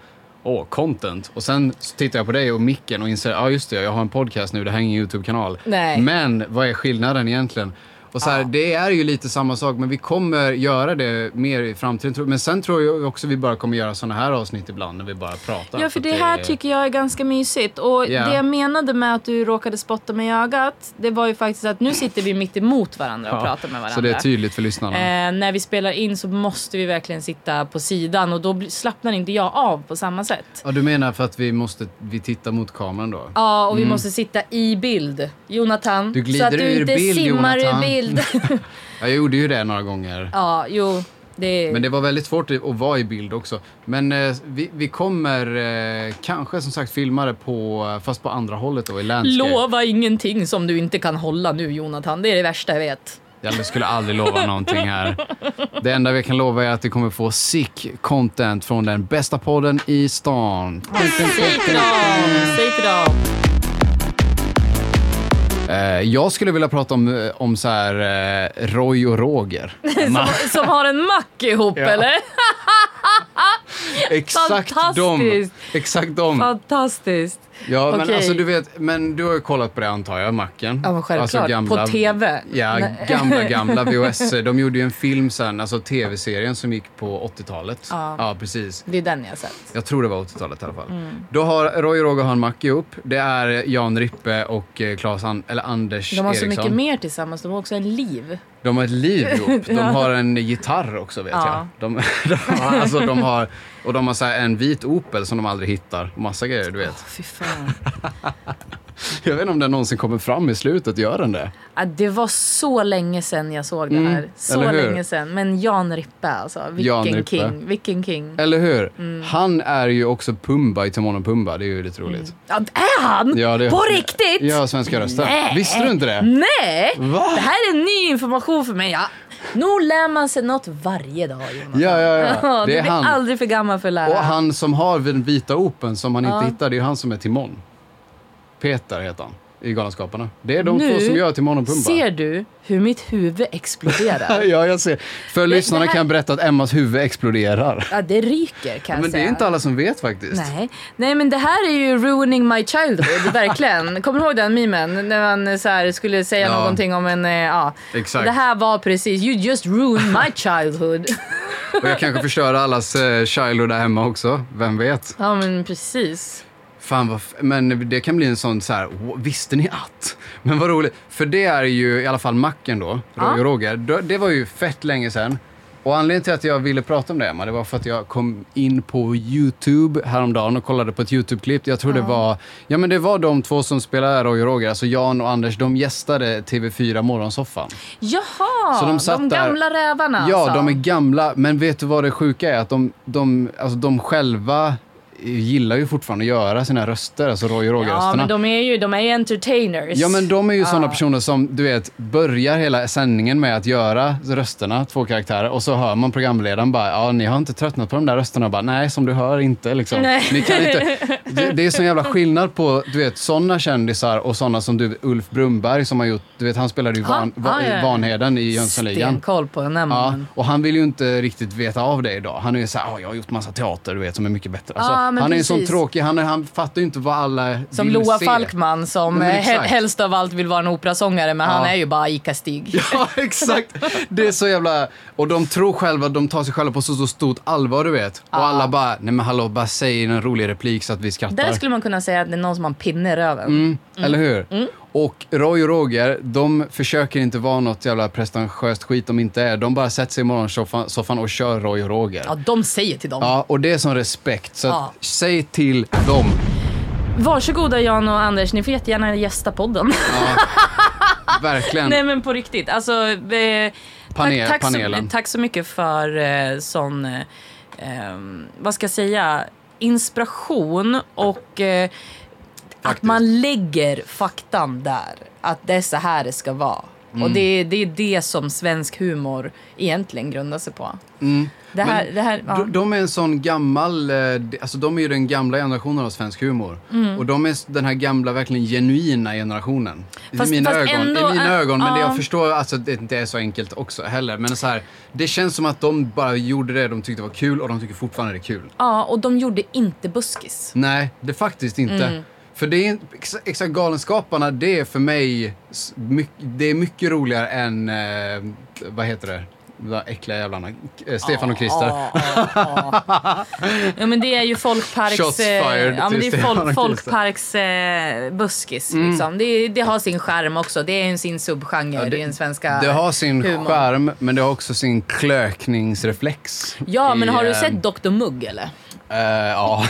Speaker 1: Åh, content. Och sen så tittar jag på dig och micken och inser, ja ah, just det, jag har en podcast nu, det här är ingen YouTube-kanal.
Speaker 2: Nej.
Speaker 1: Men vad är skillnaden egentligen? Och så här,
Speaker 3: Ja.
Speaker 1: Det är ju lite samma sak, men vi kommer göra det mer i framtiden. tror- Men sen tror jag också vi bara kommer göra såna här avsnitt ibland när vi bara pratar.
Speaker 2: Ja, för det här
Speaker 1: är-
Speaker 2: tycker jag är ganska mysigt. Och
Speaker 1: Ja.
Speaker 2: det jag menade med att du råkade spotta mig i ögat, det var ju faktiskt att nu sitter vi mitt emot varandra och
Speaker 1: Ja,
Speaker 2: pratar med varandra.
Speaker 1: Så det är typ- tydligt för lyssnarna.
Speaker 2: Eh, när vi spelar in så måste vi verkligen sitta på sidan och då bli- slappnar inte jag av på samma sätt.
Speaker 1: Ja, du menar för att vi måste vi tittar mot kameran då?
Speaker 2: Ja, och vi måste sitta i bild. Jonathan,
Speaker 1: Mm. Du glider
Speaker 2: så att du
Speaker 1: ur
Speaker 2: inte
Speaker 1: bild,
Speaker 2: simmar
Speaker 1: Jonathan.
Speaker 2: ur bild.
Speaker 1: Ja, jag gjorde ju det några gånger.
Speaker 2: ja, jo. Det,
Speaker 1: Men det var väldigt svårt att att vara i bild också. Men eh, vi, vi kommer eh, kanske som sagt filma det på, fast på andra hållet då i landscape.
Speaker 2: Lova ingenting som du inte kan hålla nu Jonathan. Det är det värsta jag vet.
Speaker 1: Ja, men Jag skulle aldrig lova någonting här. Det enda vi kan lova är att vi kommer få sick content från den bästa podden i stan.
Speaker 2: Säg till dem! Säg till dem!
Speaker 1: Eh, jag skulle vilja prata om, eh, om så här eh, Roy och Roger. Man,
Speaker 2: Som har en mack ihop
Speaker 1: Ja.
Speaker 2: eller?
Speaker 1: exakt dem.
Speaker 2: fantastiskt.
Speaker 1: Exakt dem.
Speaker 2: Fantastiskt!
Speaker 1: Ja, men
Speaker 2: Okej.
Speaker 1: alltså du vet, men du har ju kollat på det antar jag, Macken.
Speaker 2: Ja, men självklart.
Speaker 1: Alltså, gamla-
Speaker 2: På TV.
Speaker 1: Ja,
Speaker 2: Nej.
Speaker 1: gamla, gamla VHS. De gjorde ju en film sen, alltså tv-serien som gick på 80-talet.
Speaker 2: Ja.
Speaker 1: ja precis.
Speaker 2: Det är den jag har sett.
Speaker 1: Jag tror det var 80-talet i alla fall.
Speaker 2: Mm.
Speaker 1: Då har Roy och Roger har en macka ihop. Det är Jan Rippe och eh, Claes An- eller Anders
Speaker 2: De har så
Speaker 1: Eriksson.
Speaker 2: mycket mer tillsammans, de har också en liv.
Speaker 1: De har ett liv ihop. De
Speaker 2: Ja.
Speaker 1: har en gitarr också vet
Speaker 2: Ja.
Speaker 1: jag. De, de, har, alltså, de har, och de har så här en vit Opel som de aldrig hittar. Och massa grejer, du vet.
Speaker 2: Fy fan.
Speaker 1: Jag vet inte om den någonsin kommer fram i slutet. Gör den det?
Speaker 2: Ja, det var så länge sedan jag såg det
Speaker 1: Mm,
Speaker 2: här. Så
Speaker 1: eller hur?
Speaker 2: länge sedan. Men Jan Rippe alltså. Vilken
Speaker 1: Jan Rippe.
Speaker 2: king. Vilken king.
Speaker 1: Eller hur?
Speaker 2: Mm.
Speaker 1: Han är ju också Pumba i Timon och Pumba. Det är ju lite roligt.
Speaker 2: Ja, det är han?
Speaker 1: Ja, det-
Speaker 2: På riktigt?
Speaker 1: Ja, svenska rösten.
Speaker 2: Mm. Nej. Mm.
Speaker 1: Visste du inte det?
Speaker 2: Nej!
Speaker 1: Va?
Speaker 2: Det här är ny information för mig. Ja. Nog lär man sig något varje dag Jonas.
Speaker 1: Ja, ja, ja. Det
Speaker 2: du
Speaker 1: är
Speaker 2: blir
Speaker 1: han.
Speaker 2: aldrig för gammal för att lära.
Speaker 1: Och han som har den vita open som han inte
Speaker 2: Ja.
Speaker 1: hittar, det är ju han som är Timon. Peter heter han i Galenskaparna. Det är de
Speaker 2: Nu
Speaker 1: två som gör Timon och Pumba.
Speaker 2: Ser du hur mitt huvud exploderar?
Speaker 1: Ja, jag ser. För lyssnarna
Speaker 2: det här-
Speaker 1: kan jag berätta att Emmas huvud exploderar.
Speaker 2: ja, det ryker kan jag
Speaker 1: Men det
Speaker 2: säga.
Speaker 1: är inte alla som vet faktiskt.
Speaker 2: Nej. Nej, men det här är ju ruining my childhood, verkligen. Kommer du ihåg den memen? När man eh, så här, skulle säga
Speaker 1: Ja.
Speaker 2: någonting om en... eh, Ja.
Speaker 1: Exakt.
Speaker 2: Det här var precis, you just ruined my childhood.
Speaker 1: Och jag kanske förstör allas eh, Shiloh där hemma också. Vem vet?
Speaker 2: ja, men precis.
Speaker 1: Fan vad f- Men det kan bli en sån så här, "Åh, visste ni att? Men vad roligt. För det är ju i alla fall macken då, Roger och Roger. Då- Det var ju fett länge sedan. Och anledningen till att jag ville prata om det, Emma, det var för att jag kom in på YouTube häromdagen och kollade på ett YouTube-klipp. Jag tror det var, ja men det var de två som spelar Roger och Roger, alltså Jan och Anders, de gästade TV4 Morgonsoffan.
Speaker 2: Jaha,
Speaker 1: Så de
Speaker 2: de,
Speaker 1: satt där-
Speaker 2: gamla rävarna
Speaker 1: Ja,
Speaker 2: alltså.
Speaker 1: de är gamla, men vet du vad det sjuka är? Att de, de, alltså, de själva gillar ju fortfarande att göra sina röster, alltså Roy och Roger-rösterna.
Speaker 2: Ja, men de är ju de är ju entertainers.
Speaker 1: Ja, men de är ju sådana
Speaker 2: Ja.
Speaker 1: personer som, du vet, börjar hela sändningen med att göra rösterna, två karaktärer, och så hör man programledaren bara, ja, ni har inte tröttnat på de där rösterna? Och Bara, Nej, som du hör inte liksom.
Speaker 2: Nej.
Speaker 1: Ni kan inte. Det, det är sån jävla skillnad på, du vet, sådana kändisar och sådana som du, Ulf Brumberg som har gjort, du vet, han spelade ju
Speaker 2: Ha, Ah,
Speaker 1: van, va,
Speaker 2: ja, ja, ja.
Speaker 1: Vanheden i Jönssonligan.
Speaker 2: Stenkoll på den här
Speaker 1: Ja,
Speaker 2: mannen.
Speaker 1: och han vill ju inte riktigt veta av det idag. Han är ju såhär, "Ja, jag har gjort massa teater du vet som är mycket bättre. Alltså,
Speaker 2: Ja,
Speaker 1: han
Speaker 2: Ah, men
Speaker 1: är ju sån
Speaker 2: precis.
Speaker 1: tråkig, han, är, han fattar ju inte vad alla
Speaker 2: Som
Speaker 1: vill
Speaker 2: Loa
Speaker 1: se.
Speaker 2: Falkman som
Speaker 1: Nej, men
Speaker 2: eh, hel-
Speaker 1: exakt.
Speaker 2: helst av allt vill vara en operasångare men
Speaker 1: Ja.
Speaker 2: han är ju bara Ica-Stig.
Speaker 1: Ja, exakt. Det är så jävla... Och de tror själva, de tar sig själva på så, så stort allvar, du vet. Och alla bara, nej men hallå, bara säg en rolig replik så att vi skrattar.
Speaker 2: Där skulle man kunna säga att det är någon som har en pinne i röven.
Speaker 1: Mm, Eller hur? Och Roy och Roger, de försöker inte vara något jävla prestentiöst skit de inte är. De bara sätter sig i morgonsoffan soffan och kör Roy och Roger.
Speaker 2: Ja, de säger till dem.
Speaker 1: Ja, och det är som respekt. Så
Speaker 2: Ja.
Speaker 1: att, säg till dem.
Speaker 2: Varsågoda Jan och Anders, ni får jättegärna gästa podden.
Speaker 1: Verkligen.
Speaker 2: Nej men på riktigt, alltså... Eh,
Speaker 1: Panel-
Speaker 2: tack, tack, så,
Speaker 1: panelen.
Speaker 2: tack så mycket för eh, sån, eh, ehm, vad ska jag säga, inspiration och eh, att
Speaker 1: Faktiskt.
Speaker 2: man lägger faktan där. Att det är så här det ska vara. Och
Speaker 1: Mm.
Speaker 2: det, det är det som svensk humor egentligen grundar sig på. Det här,
Speaker 1: Mm. Men
Speaker 2: det här, ja.
Speaker 1: De, de är en sån gammal, eh, de- alltså de är ju den gamla generationen av svensk humor.
Speaker 2: Mm.
Speaker 1: Och de är s- den här gamla, verkligen genuina generationen.
Speaker 2: Fast-
Speaker 1: I mina
Speaker 2: fast
Speaker 1: ögon,
Speaker 2: ändå,
Speaker 1: i mina
Speaker 2: äh,
Speaker 1: ögon men det
Speaker 2: ja.
Speaker 1: jag förstår alltså, att det inte är så enkelt också heller. Men så här, det känns som att de bara gjorde det de tyckte var kul och de tycker fortfarande det är kul.
Speaker 2: ja, och de gjorde inte buskis. Mm.
Speaker 1: Nej, det är faktiskt inte. För det är ex- exakt Galenskaparna, det är för mig s- myck- det är mycket roligare än, eh, vad heter det, de där äckliga jävlarna, K- eh, Stefan och Christer.
Speaker 4: Ja, ja, ja.
Speaker 2: Ja men det är ju folkparks...
Speaker 1: Shots
Speaker 2: eh,
Speaker 1: fired
Speaker 2: ja, men det
Speaker 1: till
Speaker 2: är
Speaker 1: Stefan
Speaker 2: folk,
Speaker 1: och Christer. Mm.
Speaker 2: folkparks eh, buskis liksom. Det, det har sin skärm också. Det är ju sin subgenre
Speaker 1: Ja, det-
Speaker 2: i den svenska
Speaker 1: Det har sin
Speaker 2: humorn.
Speaker 1: charm, men det har också sin klökningsreflex.
Speaker 2: Ja men
Speaker 1: i,
Speaker 2: har du
Speaker 1: eh,
Speaker 2: sett Dr Mugg eller?
Speaker 1: eh, ja.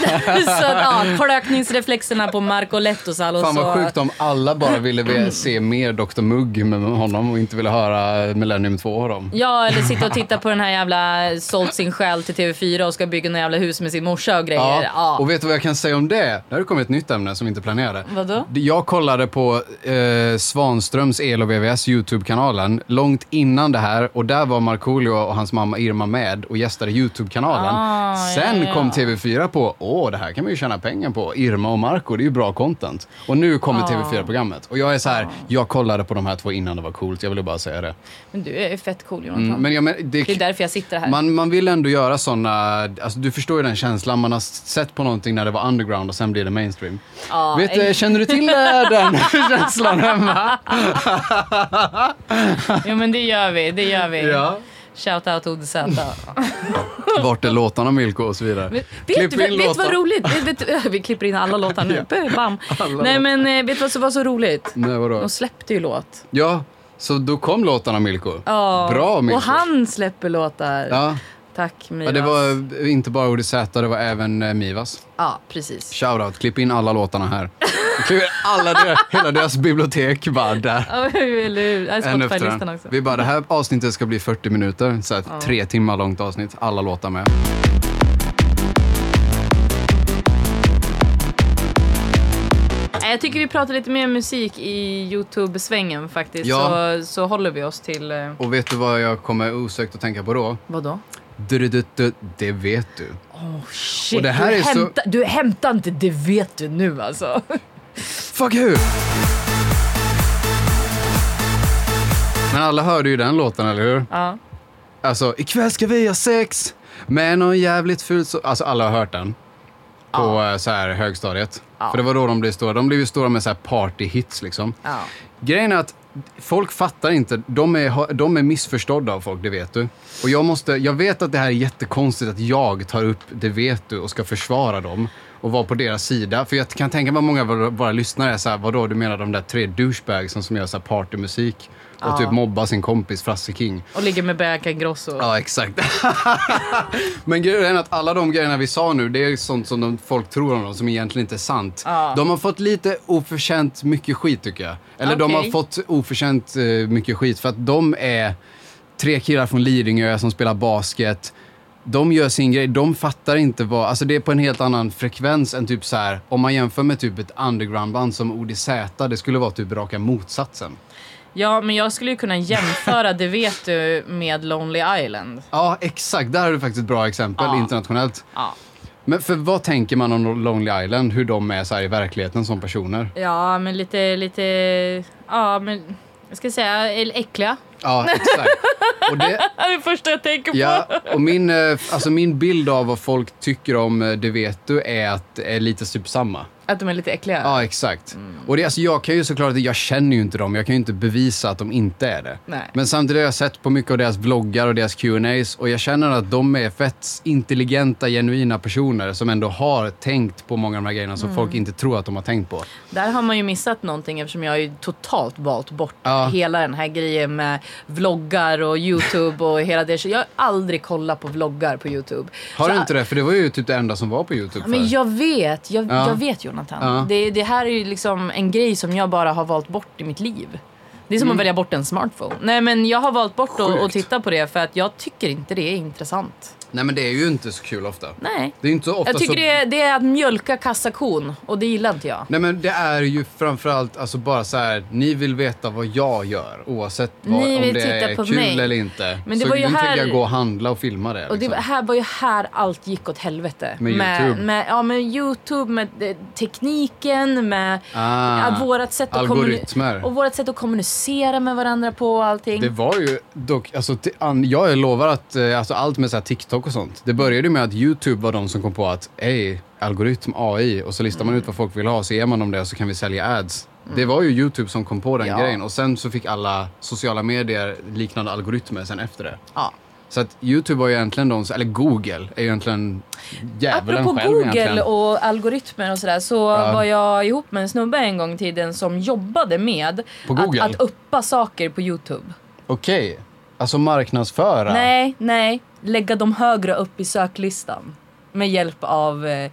Speaker 2: Så att, ja, klökningsreflexerna på Marco Lehtosalo.
Speaker 1: Fan vad
Speaker 2: så-
Speaker 1: sjukt om alla bara ville ve- se mer Dr Mugg med honom och inte ville höra Millennium 2 av dem.
Speaker 2: Ja, eller sitta och titta på den här jävla sålt sin själ till TV4 och ska bygga något jävla hus med sin morsa och grejer.
Speaker 1: Ja.
Speaker 2: Ja.
Speaker 1: Och vet du vad jag kan säga om det? Nu har det kommit ett nytt ämne som vi inte planerade.
Speaker 2: Vadå?
Speaker 1: Det- Jag kollade på eh, Svanströms el och VVS YouTube-kanalen långt innan det här och där var Markoolio och hans mamma Irma med och gästade YouTube-kanalen.
Speaker 2: Ah,
Speaker 1: Sen
Speaker 2: ja, ja.
Speaker 1: kom TV4 på, åh det här kan man ju tjäna pengar på, Irma och Marco, det är ju bra content. Och nu kommer
Speaker 2: Ah.
Speaker 1: TV4-programmet. Och jag är så här, jag kollade på de här två innan det var coolt, jag ville bara säga det.
Speaker 2: Men du är ju fett cool Jonathan.
Speaker 1: Mm, men jag, men,
Speaker 2: Det är därför jag sitter här.
Speaker 1: man, man vill ändå göra såna, alltså du förstår ju den känslan, man har s- sett på någonting när det var underground och sen blir det mainstream.
Speaker 2: Ja,
Speaker 1: Vet,
Speaker 2: eh,
Speaker 1: du, känner du till eh, den känslan hemma?
Speaker 2: Jo men det gör vi, det gör vi.
Speaker 1: Ja.
Speaker 2: Shoutout ODZ.
Speaker 1: Vart är låtarna Milko och så vidare.
Speaker 2: Vet,
Speaker 1: Klipp
Speaker 2: vet,
Speaker 1: in
Speaker 2: vet du
Speaker 1: låtar.
Speaker 2: vad roligt? Vet, vet, vi klipper in alla låtar nu. Bam. Nej men eh, vet du vad som var så roligt?
Speaker 1: Nej, vadå?
Speaker 2: De släppte ju låt.
Speaker 1: Ja, så då kom låtarna Milko.
Speaker 2: Ja.
Speaker 1: Bra Milko.
Speaker 2: Och han släpper låtar.
Speaker 1: Ja.
Speaker 2: Tack Mivas.
Speaker 1: ja, det var inte bara Odi Z, det var även eh, Mivas.
Speaker 2: Ja, precis.
Speaker 1: Shoutout, klipp in alla låtarna här. Klipp in alla deras, hela deras bibliotek bara där.
Speaker 2: Ja, Eller hur? Ja,
Speaker 1: En efter
Speaker 2: Spotify-listan
Speaker 1: en.
Speaker 2: också.
Speaker 1: Vi bara, det här avsnittet ska bli 40 minuter. Så här, Tre timmar långt avsnitt, alla låtar med.
Speaker 2: Nej, Eh, Jag tycker vi pratar lite mer musik i Youtube-svängen faktiskt.
Speaker 1: Ja.
Speaker 2: Så, så håller vi oss till... Eh,
Speaker 1: Och vet du vad jag kommer osökt att tänka på då?
Speaker 2: vadå?
Speaker 1: Du-du-du-du, det vet du.
Speaker 2: Oh, shit,
Speaker 1: Och det här
Speaker 2: du,
Speaker 1: är så-
Speaker 2: hämta, du hämtar inte det vet du nu alltså.
Speaker 1: Fuck you! Men alla hörde ju den låten, eller hur?
Speaker 2: Ja.
Speaker 1: Alltså, ikväll ska vi ha sex med någon jävligt ful så... Alltså, alla har hört den. På eh, så här högstadiet.
Speaker 2: Ja.
Speaker 1: För det var då de blev stora. De blev ju stora med så här partyhits liksom.
Speaker 2: ja.
Speaker 1: Grejen är att folk fattar inte. De är, de är missförstådda av folk, det vet du. Och jag, måste, jag vet att det här är jättekonstigt att jag tar upp det vet du och ska försvara dem och vara på deras sida. För jag kan tänka mig att många av våra- våra lyssnare är så här, vadå du menar de där tre douchebagsen som gör så här partymusik och
Speaker 2: Ja.
Speaker 1: typ mobbar sin kompis Frasse King.
Speaker 2: Och ligger med Bianca Grosso.
Speaker 1: Ja, exakt. Men grejen är att alla de grejerna vi sa nu, det är sånt som de, folk tror om dem som egentligen inte är sant.
Speaker 2: Ja.
Speaker 1: De har fått lite oförtjänt mycket skit tycker jag. Eller de har
Speaker 2: Okej.
Speaker 1: fått oförtjänt eh, mycket skit för att de är tre killar från Lidingö som spelar basket. De gör sin grej, de fattar inte vad, alltså det är på en helt annan frekvens än typ så här, om man jämför med typ ett undergroundband som ODZ, det skulle vara typ raka motsatsen.
Speaker 2: Ja, men jag skulle ju kunna jämföra det vet du med Lonely Island.
Speaker 1: Ja, exakt, där har du faktiskt ett bra exempel
Speaker 2: Ja.
Speaker 1: internationellt.
Speaker 2: Ja,
Speaker 1: Men för vad tänker man om Lonely Island? Hur de är så här i verkligheten som personer?
Speaker 2: ja men lite, lite... Ja, men... Jag ska säga eller äckliga.
Speaker 1: Ja, exakt. Och det,
Speaker 2: Det är det första jag tänker på.
Speaker 1: ja, och min, eh, alltså min bild av vad folk tycker om eh, Det vet du är att det är lite typ samma.
Speaker 2: Att de är lite äckliga.
Speaker 1: Ja, exakt. Och det, alltså, jag kan ju såklart, jag känner ju inte dem, jag kan ju inte bevisa att de inte är det.
Speaker 2: Nej.
Speaker 1: Men samtidigt har jag sett på mycket av deras vloggar och deras Q&As och jag känner att de är fett intelligenta, genuina personer som ändå har tänkt på många av de här grejerna som folk inte tror att de har tänkt på.
Speaker 2: Där har man ju missat någonting eftersom jag har ju totalt valt bort
Speaker 1: Ja.
Speaker 2: hela den här grejen med vloggar och Youtube och hela det. Så jag har aldrig kollat på vloggar på Youtube.
Speaker 1: Har
Speaker 2: så,
Speaker 1: du inte det? För det var ju typ det enda som var på YouTube
Speaker 2: Men
Speaker 1: förr.
Speaker 2: jag vet, jag,
Speaker 1: Ja.
Speaker 2: jag vet Jonathan.
Speaker 1: Ja.
Speaker 2: Det, det här är ju liksom en grej som jag bara har valt bort i mitt liv. Det är som att välja bort en smartphone. Nej men jag har valt bort att
Speaker 1: Mm. Sjukt.
Speaker 2: att titta på det för att jag tycker inte det är intressant.
Speaker 1: Nej men det är ju inte så kul ofta.
Speaker 2: Nej.
Speaker 1: Det är inte så ofta
Speaker 2: Jag tycker
Speaker 1: så...
Speaker 2: det, är, det är att mjölka kassakon och det gillar inte jag.
Speaker 1: Nej men det är ju framförallt alltså bara så här, ni vill veta vad jag gör oavsett vad,
Speaker 2: Ni
Speaker 1: om
Speaker 2: vill
Speaker 1: det är
Speaker 2: titta på
Speaker 1: kul
Speaker 2: mig.
Speaker 1: eller inte.
Speaker 2: Men det
Speaker 1: så
Speaker 2: var ju
Speaker 1: nu
Speaker 2: här-
Speaker 1: tänker jag gå och handla och filma det.
Speaker 2: Och det,
Speaker 1: liksom.
Speaker 2: var- här var ju här allt gick åt helvete.
Speaker 1: Med
Speaker 2: med,
Speaker 1: YouTube.
Speaker 2: med, ja, med Youtube, med eh, tekniken, med
Speaker 1: Ah,
Speaker 2: att vårat sätt att kommuni-
Speaker 1: algoritmer.
Speaker 2: och vårt sätt att kommunicera kommunicera med varandra på och allting.
Speaker 1: Det var ju dock, alltså, t- an, jag lovar att eh, alltså, allt med så här TikTok och sånt, det började ju med att YouTube var de som kom på att ej, algoritm, AI, och så listar man ut vad folk vill ha, så ger man dem det så kan vi sälja ads. Det var ju YouTube som kom på den
Speaker 2: Mm. Ja.
Speaker 1: grejen och sen så fick alla sociala medier liknande algoritmer sen efter det.
Speaker 2: Ja.
Speaker 1: Så att YouTube var ju egentligen de, som- eller Google, är ju egentligen djävulen
Speaker 2: Apropå
Speaker 1: själv
Speaker 2: Google
Speaker 1: egentligen.
Speaker 2: och algoritmer och sådär så
Speaker 1: Ja.
Speaker 2: var jag ihop med en snubbe en gång i tiden som jobbade med
Speaker 1: På
Speaker 2: att,
Speaker 1: Google?
Speaker 2: att uppa saker på Youtube.
Speaker 1: Okej, alltså marknadsföra.
Speaker 2: Nej, nej. Lägga dem högre upp i söklistan med hjälp av eh,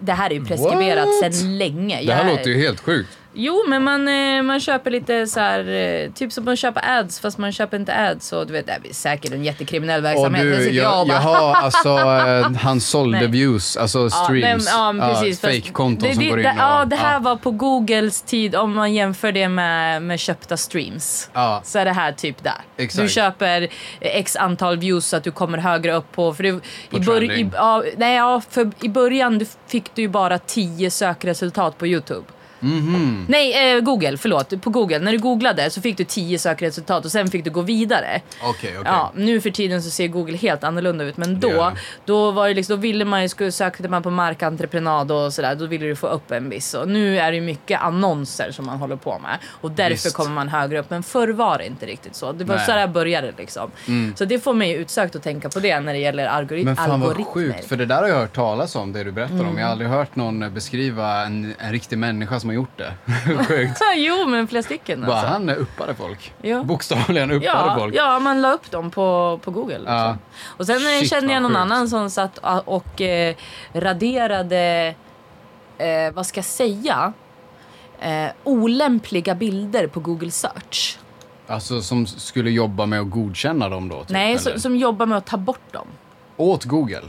Speaker 2: det här är ju preskriberat
Speaker 1: What?
Speaker 2: sedan länge.
Speaker 1: Det här
Speaker 2: Jag-
Speaker 1: låter ju helt sjukt.
Speaker 2: Jo, men man, eh, man köper lite så här, eh, typ som man köper ads fast man köper inte ads. Och du vet, det är säkert en jättekriminell
Speaker 1: Och
Speaker 2: verksamhet. Där
Speaker 1: du,
Speaker 2: sitter jag
Speaker 1: jag,
Speaker 2: och bara,
Speaker 1: jaha, alltså eh, han sålde
Speaker 2: Nej.
Speaker 1: views, alltså streams.
Speaker 2: Ja, men, ja, men precis. Fast
Speaker 1: Fake-konton
Speaker 2: det-
Speaker 1: som
Speaker 2: det-
Speaker 1: går in
Speaker 2: det-
Speaker 1: och...
Speaker 2: Ja, det här
Speaker 1: ja.
Speaker 2: var på Googles tid om man jämför det med, med köpta streams.
Speaker 1: Ja.
Speaker 2: Så är det här typ där.
Speaker 1: Exakt.
Speaker 2: Du köper eh, x antal views så att du kommer högre upp på... För du, i, bör, i,
Speaker 1: trending.
Speaker 2: ja, nej, ja, för I början du fick du ju bara 10 sökresultat på Youtube.
Speaker 1: Mhm.
Speaker 2: Nej, eh, Google. Förlåt. På Google. När du googlade så fick du 10 sökresultat och sen fick du gå vidare.
Speaker 1: Okej, okej.
Speaker 2: Ja, nu för tiden så ser Google helt annorlunda ut men
Speaker 1: Det gör
Speaker 2: då,
Speaker 1: det.
Speaker 2: då, var det liksom, då ville man ju, skulle- sökte man på markentreprenad och sådär, då ville du få upp en viss. Och nu är det ju mycket annonser som man håller på med och därför
Speaker 1: Visst.
Speaker 2: kommer man högre upp. Men förr var det inte riktigt så. Det var
Speaker 1: Nej. Mm.
Speaker 2: så där började liksom. Så det får mig utsökt att tänka på det när det gäller algori-
Speaker 1: Men fan
Speaker 2: algoritmer. Mm.
Speaker 1: vad sjukt, för det där har jag hört talas om, det du berättar om. Jag har aldrig hört någon beskriva en, en riktig människa som har gjort det. sjukt.
Speaker 2: jo, men flera stycken
Speaker 1: Bara
Speaker 2: alltså.
Speaker 1: han uppade folk.
Speaker 2: Ja.
Speaker 1: Bokstavligen uppade
Speaker 2: Ja,
Speaker 1: folk.
Speaker 2: ja, man la upp dem på, på Google. Liksom.
Speaker 1: Ja.
Speaker 2: Och sen eh,
Speaker 1: Shit,
Speaker 2: kände jag
Speaker 1: vad
Speaker 2: någon
Speaker 1: sjukt.
Speaker 2: annan som satt a- och eh, raderade, eh, vad ska jag säga, eh, olämpliga bilder på Google Search.
Speaker 1: Alltså som skulle jobba med att godkänna dem då? Typ,
Speaker 2: Nej,
Speaker 1: eller?
Speaker 2: som, som jobbar med att ta bort dem.
Speaker 1: Åt Google?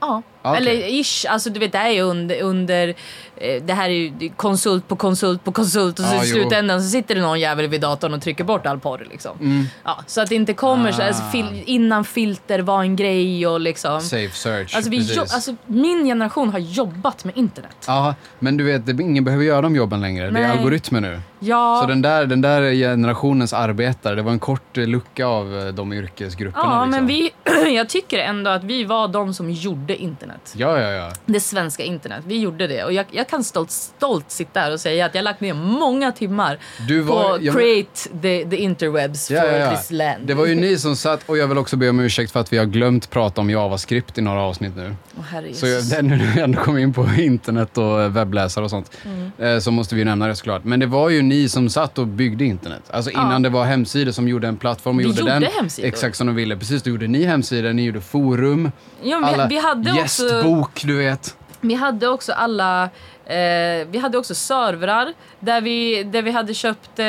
Speaker 2: Ja.
Speaker 1: Ah, Okej.
Speaker 2: Eller ish, alltså du vet det här är ju under, under eh, det här är ju det är konsult på konsult på konsult och så
Speaker 1: Ja,
Speaker 2: i
Speaker 1: Ah, jo.
Speaker 2: slutändan så sitter det någon jävel vid datorn och trycker bort all porr liksom.
Speaker 1: Mm.
Speaker 2: Ja, så att det inte kommer så, alltså,
Speaker 1: Ah.
Speaker 2: fil, innan filter var en grej och liksom.
Speaker 1: Safe search,
Speaker 2: Alltså, vi
Speaker 1: precis.
Speaker 2: jo, alltså min generation har jobbat med internet.
Speaker 1: Ja, men du vet, det, ingen behöver göra de jobben längre. Det är
Speaker 2: Nej.
Speaker 1: algoritmer nu.
Speaker 2: Ja,
Speaker 1: Så den där, den där generationens arbetare, det var en kort eh, lucka av eh, de yrkesgrupperna.
Speaker 2: ja
Speaker 1: liksom.
Speaker 2: men vi, jag tycker ändå att vi var de som gjorde internet.
Speaker 1: Ja, ja, ja.
Speaker 2: Det svenska internet. Vi gjorde det. Och jag, jag kan stolt, stolt sitta här och säga att jag lagt ner många timmar
Speaker 1: Du var-
Speaker 2: på
Speaker 1: ja, men-
Speaker 2: create the, the interwebs
Speaker 1: Ja,
Speaker 2: for
Speaker 1: ja, ja.
Speaker 2: this land.
Speaker 1: Det var ju ni som satt, och jag vill också be om ursäkt för att vi har glömt prata om JavaScript i några avsnitt nu.
Speaker 2: Åh, herre
Speaker 1: Så jag,
Speaker 2: Jesus.
Speaker 1: när vi ändå kom in på internet och eh, webbläsare och sånt,
Speaker 2: Mm.
Speaker 1: eh, så måste vi nämna det såklart. Men det var ju ni som satt och byggde internet. Alltså innan det var hemsidor som gjorde en plattform och
Speaker 2: Vi
Speaker 1: gjorde,
Speaker 2: gjorde
Speaker 1: den
Speaker 2: hemsidor.
Speaker 1: exakt som de ville. Precis, då gjorde ni hemsidor, ni gjorde forum,
Speaker 2: Ja, vi- vi hade också-
Speaker 1: gästbok, du vet.
Speaker 2: Vi hade också alla Eh, vi hade också servrar där vi, där vi hade köpt eh,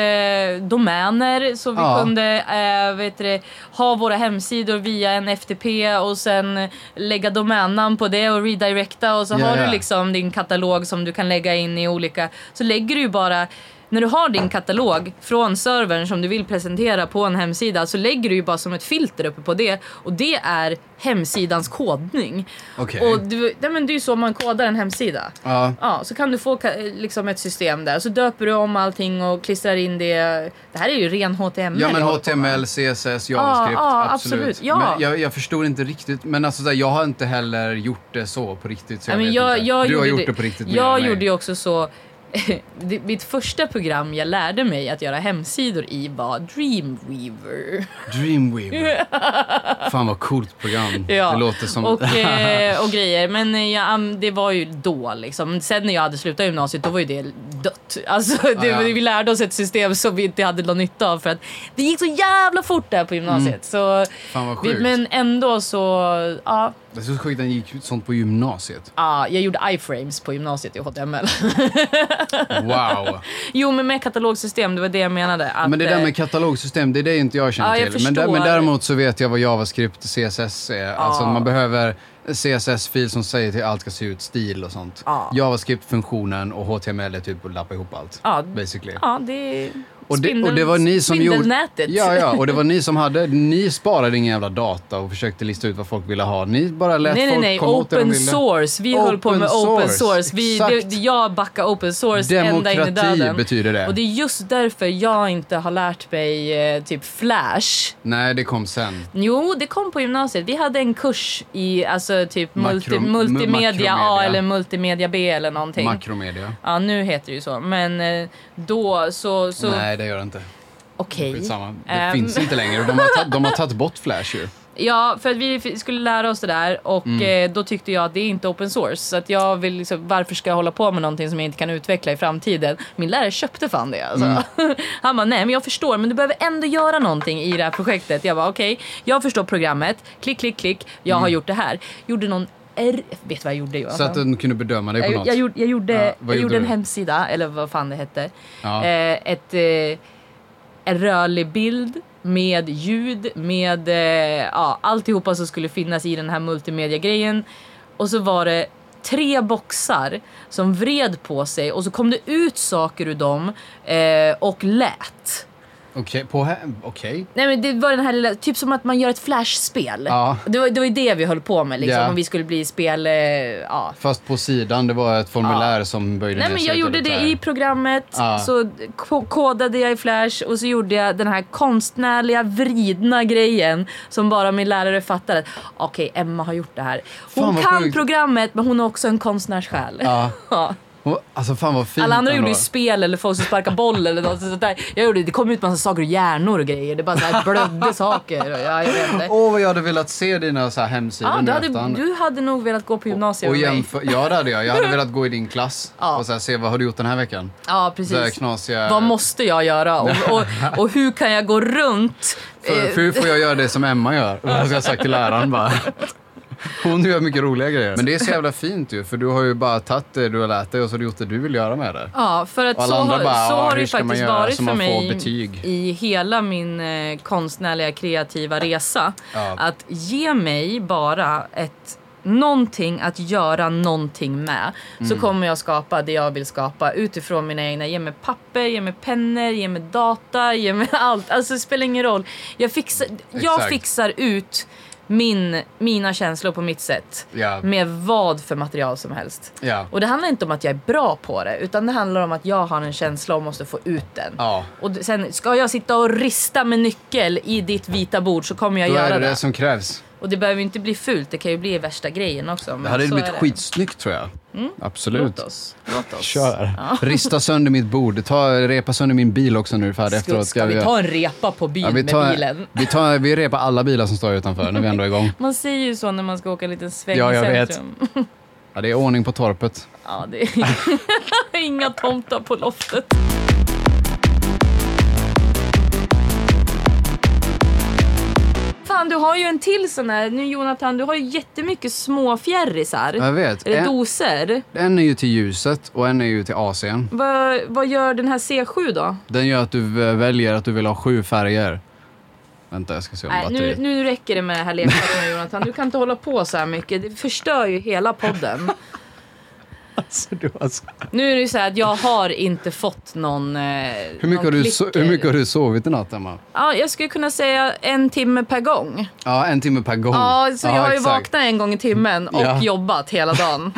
Speaker 2: domäner så vi
Speaker 1: Ja.
Speaker 2: kunde eh, vet du, det, ha våra hemsidor via en FTP och sen lägga domännamn på det och redirecta och så
Speaker 1: Ja,
Speaker 2: har
Speaker 1: ja.
Speaker 2: du liksom din katalog som du kan lägga in i olika... Så lägger du ju bara... När du har din katalog från servern som du vill presentera på en hemsida så lägger du ju bara som ett filter uppe på det och det är hemsidans kodning.
Speaker 1: Okej.
Speaker 2: Och du, nej men det är ju så man kodar en hemsida.
Speaker 1: Ja.
Speaker 2: Ja, så kan du få ka- liksom ett system där. Så döper du om allting och klistrar in det. Det här är ju ren HTML.
Speaker 1: Ja,
Speaker 2: jag
Speaker 1: men
Speaker 2: håller på med.
Speaker 1: HTML, CSS, JavaScript.
Speaker 2: ja,
Speaker 1: absolut.
Speaker 2: absolut. Ja.
Speaker 1: Men jag, jag förstod inte riktigt. Men alltså, så här, jag har inte heller gjort det så på riktigt. Så jag
Speaker 2: Nej, men
Speaker 1: vet
Speaker 2: jag,
Speaker 1: inte.
Speaker 2: jag
Speaker 1: du har
Speaker 2: gjorde
Speaker 1: gjort det, på riktigt. mer
Speaker 2: Jag
Speaker 1: än mig.
Speaker 2: gjorde ju också så. det- Mitt första program jag lärde mig att göra hemsidor i var Dreamweaver.
Speaker 1: Dreamweaver. Fan vad coolt program.
Speaker 2: Ja,
Speaker 1: Det låter som...
Speaker 2: och, eh, och grejer. Men eh, jag, am- det var ju då liksom. Sen när jag hade slutat gymnasiet då var ju det dött. Alltså, det,
Speaker 1: ja.
Speaker 2: Vi lärde oss ett system som vi inte hade någon nytta av för att det gick så jävla fort där på gymnasiet. Så,
Speaker 1: Mm. Fan, vad
Speaker 2: vi-
Speaker 1: sjukt.
Speaker 2: men ändå så, ja.
Speaker 1: Det är så sjukt att den gick ut sånt på gymnasiet.
Speaker 2: ja, jag gjorde iframes på gymnasiet i HTML.
Speaker 1: Wow.
Speaker 2: jo men med katalogsystem, det var det jag menade. Att,
Speaker 1: Men det där
Speaker 2: eh,
Speaker 1: med katalogsystem, det är det inte jag känner
Speaker 2: Ja, jag
Speaker 1: till. Men, där, men
Speaker 2: förstår.
Speaker 1: däremot så vet jag vad JavaScript och CSS är. Alltså man behöver CSS-fil som säger till allt ska se ut, stil och sånt.
Speaker 2: Ja.
Speaker 1: JavaScript-funktionen och HTML är typ att lappa ihop allt.
Speaker 2: Ja.
Speaker 1: Basically.
Speaker 2: Ja, det,
Speaker 1: Och det,
Speaker 2: Spindel-
Speaker 1: och det var ni som gjorde...
Speaker 2: spindelnätet.
Speaker 1: Ja, ja, och det var ni som hade... Ni sparade ingen jävla data och försökte lista ut vad folk ville ha. Ni bara lät
Speaker 2: Nej, nej,
Speaker 1: folk
Speaker 2: nej.
Speaker 1: komma åt det de
Speaker 2: Open
Speaker 1: ville.
Speaker 2: source. Vi
Speaker 1: Open
Speaker 2: höll på med
Speaker 1: source,
Speaker 2: open source. Vi, det,
Speaker 1: exakt.
Speaker 2: jag backar open source ända in i
Speaker 1: Demokrati
Speaker 2: döden.
Speaker 1: betyder det.
Speaker 2: Och det är just därför jag inte har lärt mig eh, typ Flash.
Speaker 1: Nej, det kom sen.
Speaker 2: Jo, det kom på gymnasiet. Vi hade en kurs i alltså typ multi,
Speaker 1: Makro- mu-
Speaker 2: multimedia A
Speaker 1: makromedia.
Speaker 2: eller multimedia B eller någonting.
Speaker 1: Makromedia.
Speaker 2: ja, nu heter det ju så. Men eh, då så... så
Speaker 1: Nej, det gör det inte.
Speaker 2: Okej.
Speaker 1: Skitsamma. Det
Speaker 2: Ehm.
Speaker 1: finns inte längre. De har, ta- de har tagit bort Flash ju.
Speaker 2: Ja, för att vi f- skulle lära oss det där och
Speaker 1: Mm.
Speaker 2: eh, då tyckte jag att det är inte open source. Så att jag vill liksom, varför ska jag hålla på med någonting som jag inte kan utveckla i framtiden? Min lärare köpte fan det alltså.
Speaker 1: Mm.
Speaker 2: Han bara, nej men jag förstår, men du behöver ändå göra någonting i det här projektet. Jag bara, okej, jag förstår programmet, klick, klick, klick, jag har gjort det här. Gjorde någon R... Vet du vad jag gjorde Johan?
Speaker 1: Mm. Så att de kunde bedöma dig på
Speaker 2: jag,
Speaker 1: något.
Speaker 2: jag, gjorde, jag, gjorde,
Speaker 1: Ja, vad gjorde
Speaker 2: jag gjorde en
Speaker 1: du?
Speaker 2: hemsida, eller vad fan det hette.
Speaker 1: Ja.
Speaker 2: Eh, ett, eh, en rörlig bild med ljud, med eh, ja, alltihopa som skulle finnas i den här multimedia-grejen. Och så var det tre boxar som vred på sig och så kom det ut saker ur dem eh, och lät.
Speaker 1: Okej, på he- okej.
Speaker 2: Nej men det var den här lilla, typ som att man gör ett flashspel.
Speaker 1: Ja.
Speaker 2: Det, var, det var ju det vi höll på med liksom,
Speaker 1: Ja.
Speaker 2: om vi skulle bli spel... Eh, ja,
Speaker 1: Fast på sidan, det var ett formulär som böjde
Speaker 2: Nej
Speaker 1: ner
Speaker 2: men
Speaker 1: sig
Speaker 2: jag
Speaker 1: till
Speaker 2: gjorde
Speaker 1: ett
Speaker 2: det
Speaker 1: där.
Speaker 2: i programmet,
Speaker 1: Ja.
Speaker 2: så ko- kodade jag i Flash och så gjorde jag den här konstnärliga vridna grejen som bara min lärare fattade. Okej, Emma har gjort det här. Hon
Speaker 1: Fan, vad
Speaker 2: kan
Speaker 1: sjukt.
Speaker 2: programmet men hon har också en konstnärssjäl.
Speaker 1: Ja.
Speaker 2: Ja.
Speaker 1: Och- Alltså fan vad fint
Speaker 2: Alla andra
Speaker 1: ändå.
Speaker 2: gjorde ju spel eller folk som sparkar boll eller något sånt där. Jag gjorde, det kom ut massa saker och hjärnor och grejer. Det bara så här blödde saker. Och jag, jag vet inte.
Speaker 1: Åh, vad jag hade velat se dina så här hemsidor
Speaker 2: ja,
Speaker 1: nu
Speaker 2: du,
Speaker 1: efterhand.
Speaker 2: hade, du hade nog velat gå på gymnasiet
Speaker 1: och
Speaker 2: med mig.
Speaker 1: jämför, Ja, det hade jag. Jag hade velat gå i din klass
Speaker 2: Ja.
Speaker 1: och så här, se vad har du gjort den här veckan.
Speaker 2: Ja,
Speaker 1: Det här
Speaker 2: precis.
Speaker 1: knasiga...
Speaker 2: Vad måste jag göra och, och, och hur kan jag gå runt? eh,
Speaker 1: för, för hur får jag göra det som Emma gör? Det har jag sagt till läraren bara. Hon gör mycket roliga grejer. Men det är så jävla fint ju, för du har ju bara tagit det du har lärt dig och så har du gjort det du vill göra med det.
Speaker 2: Ja, för att
Speaker 1: Och alla
Speaker 2: så,
Speaker 1: andra
Speaker 2: har-
Speaker 1: bara,
Speaker 2: så
Speaker 1: "Ja,
Speaker 2: har det
Speaker 1: hur
Speaker 2: ju
Speaker 1: ska man
Speaker 2: faktiskt
Speaker 1: göra
Speaker 2: varit
Speaker 1: så
Speaker 2: för
Speaker 1: man får
Speaker 2: mig
Speaker 1: betyg?"
Speaker 2: i hela min eh, konstnärliga kreativa resa.
Speaker 1: Ja.
Speaker 2: Att ge mig bara ett någonting att göra någonting med
Speaker 1: Mm.
Speaker 2: så kommer jag skapa det jag vill skapa utifrån mina egna. Ge mig papper, ge mig pennor, ge mig data, ge mig allt. Alltså det spelar ingen roll. Jag fixar, jag
Speaker 1: Exakt.
Speaker 2: fixar ut min, mina känslor på mitt sätt
Speaker 1: Ja.
Speaker 2: med vad för material som helst.
Speaker 1: Ja.
Speaker 2: Och det handlar inte om att jag är bra på det utan det handlar om att jag har en känsla och måste få ut den.
Speaker 1: Ja.
Speaker 2: Och d- sen ska jag sitta och rista med nyckel i ditt vita bord så kommer jag
Speaker 1: Då är
Speaker 2: göra
Speaker 1: det
Speaker 2: det.
Speaker 1: det som krävs.
Speaker 2: Och det behöver ju inte bli fult, det kan ju bli värsta grejen också. men
Speaker 1: Det hade
Speaker 2: så
Speaker 1: blivit
Speaker 2: är det. Mm.
Speaker 1: skitsnyggt tror jag. Absolut.
Speaker 2: Låt oss. Låt oss.
Speaker 1: Kör. Rista sönder mitt bord. Ta, repa sönder min bil också nu för att
Speaker 2: Ska,
Speaker 1: efteråt
Speaker 2: ska vi
Speaker 1: göra-
Speaker 2: ta en repa på byn
Speaker 1: Ja, vi,
Speaker 2: med
Speaker 1: tar,
Speaker 2: bilen?
Speaker 1: vi, tar, vi repar alla bilar som står utanför när vi ändå är igång.
Speaker 2: Man säger ju så när man ska åka en liten sväng
Speaker 1: Ja,
Speaker 2: i
Speaker 1: jag vet.
Speaker 2: centrum.
Speaker 1: Ja, det är ordning på torpet.
Speaker 2: Ja, det är inga tomtar på loftet. Fan, du har ju en till sån här. Nu Jonathan, du har ju jättemycket små fjärrisar.
Speaker 1: Jag vet.
Speaker 2: Eller
Speaker 1: En,
Speaker 2: doser.
Speaker 1: en är ju till ljuset och en är ju till AC'n.
Speaker 2: Vad, vad gör den här C7 då?
Speaker 1: Den gör att du v- väljer att du vill ha sju färger. Vänta, jag ska se om
Speaker 2: Nej, nu,
Speaker 1: batteriet...
Speaker 2: nu räcker det med det här leksakerna Jonathan. Du kan inte hålla på så här mycket. Det förstör ju hela podden.
Speaker 1: Alltså, du, alltså.
Speaker 2: Nu är det ju så här att jag har inte fått någon...
Speaker 1: Hur, mycket har du so- hur mycket har du sovit i natt, Emma?
Speaker 2: Ja, jag skulle kunna säga en timme per gång.
Speaker 1: Ja, en timme per gång.
Speaker 2: Ja, så jag har ju
Speaker 1: Mm. exakt.
Speaker 2: vaknat en gång i timmen och
Speaker 1: Ja.
Speaker 2: jobbat hela dagen.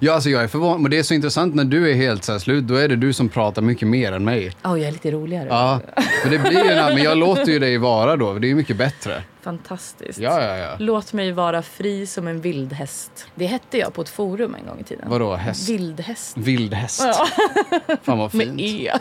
Speaker 1: Ja, alltså jag är förvånad. Men det är så intressant när du är helt så här slut, då är det du som pratar mycket mer än mig.
Speaker 2: Ja, jag är lite roligare.
Speaker 1: Ja, men det blir ju en, men jag låter ju dig vara då, det är ju mycket bättre.
Speaker 2: Fantastiskt.
Speaker 1: Ja, ja, ja.
Speaker 2: Låt mig vara fri som en vildhäst. Det hette jag på ett forum en gång i tiden.
Speaker 1: Vadå, häst?
Speaker 2: Vildhäst.
Speaker 1: Vildhäst. Fan vad
Speaker 2: Med
Speaker 1: fint.
Speaker 2: E.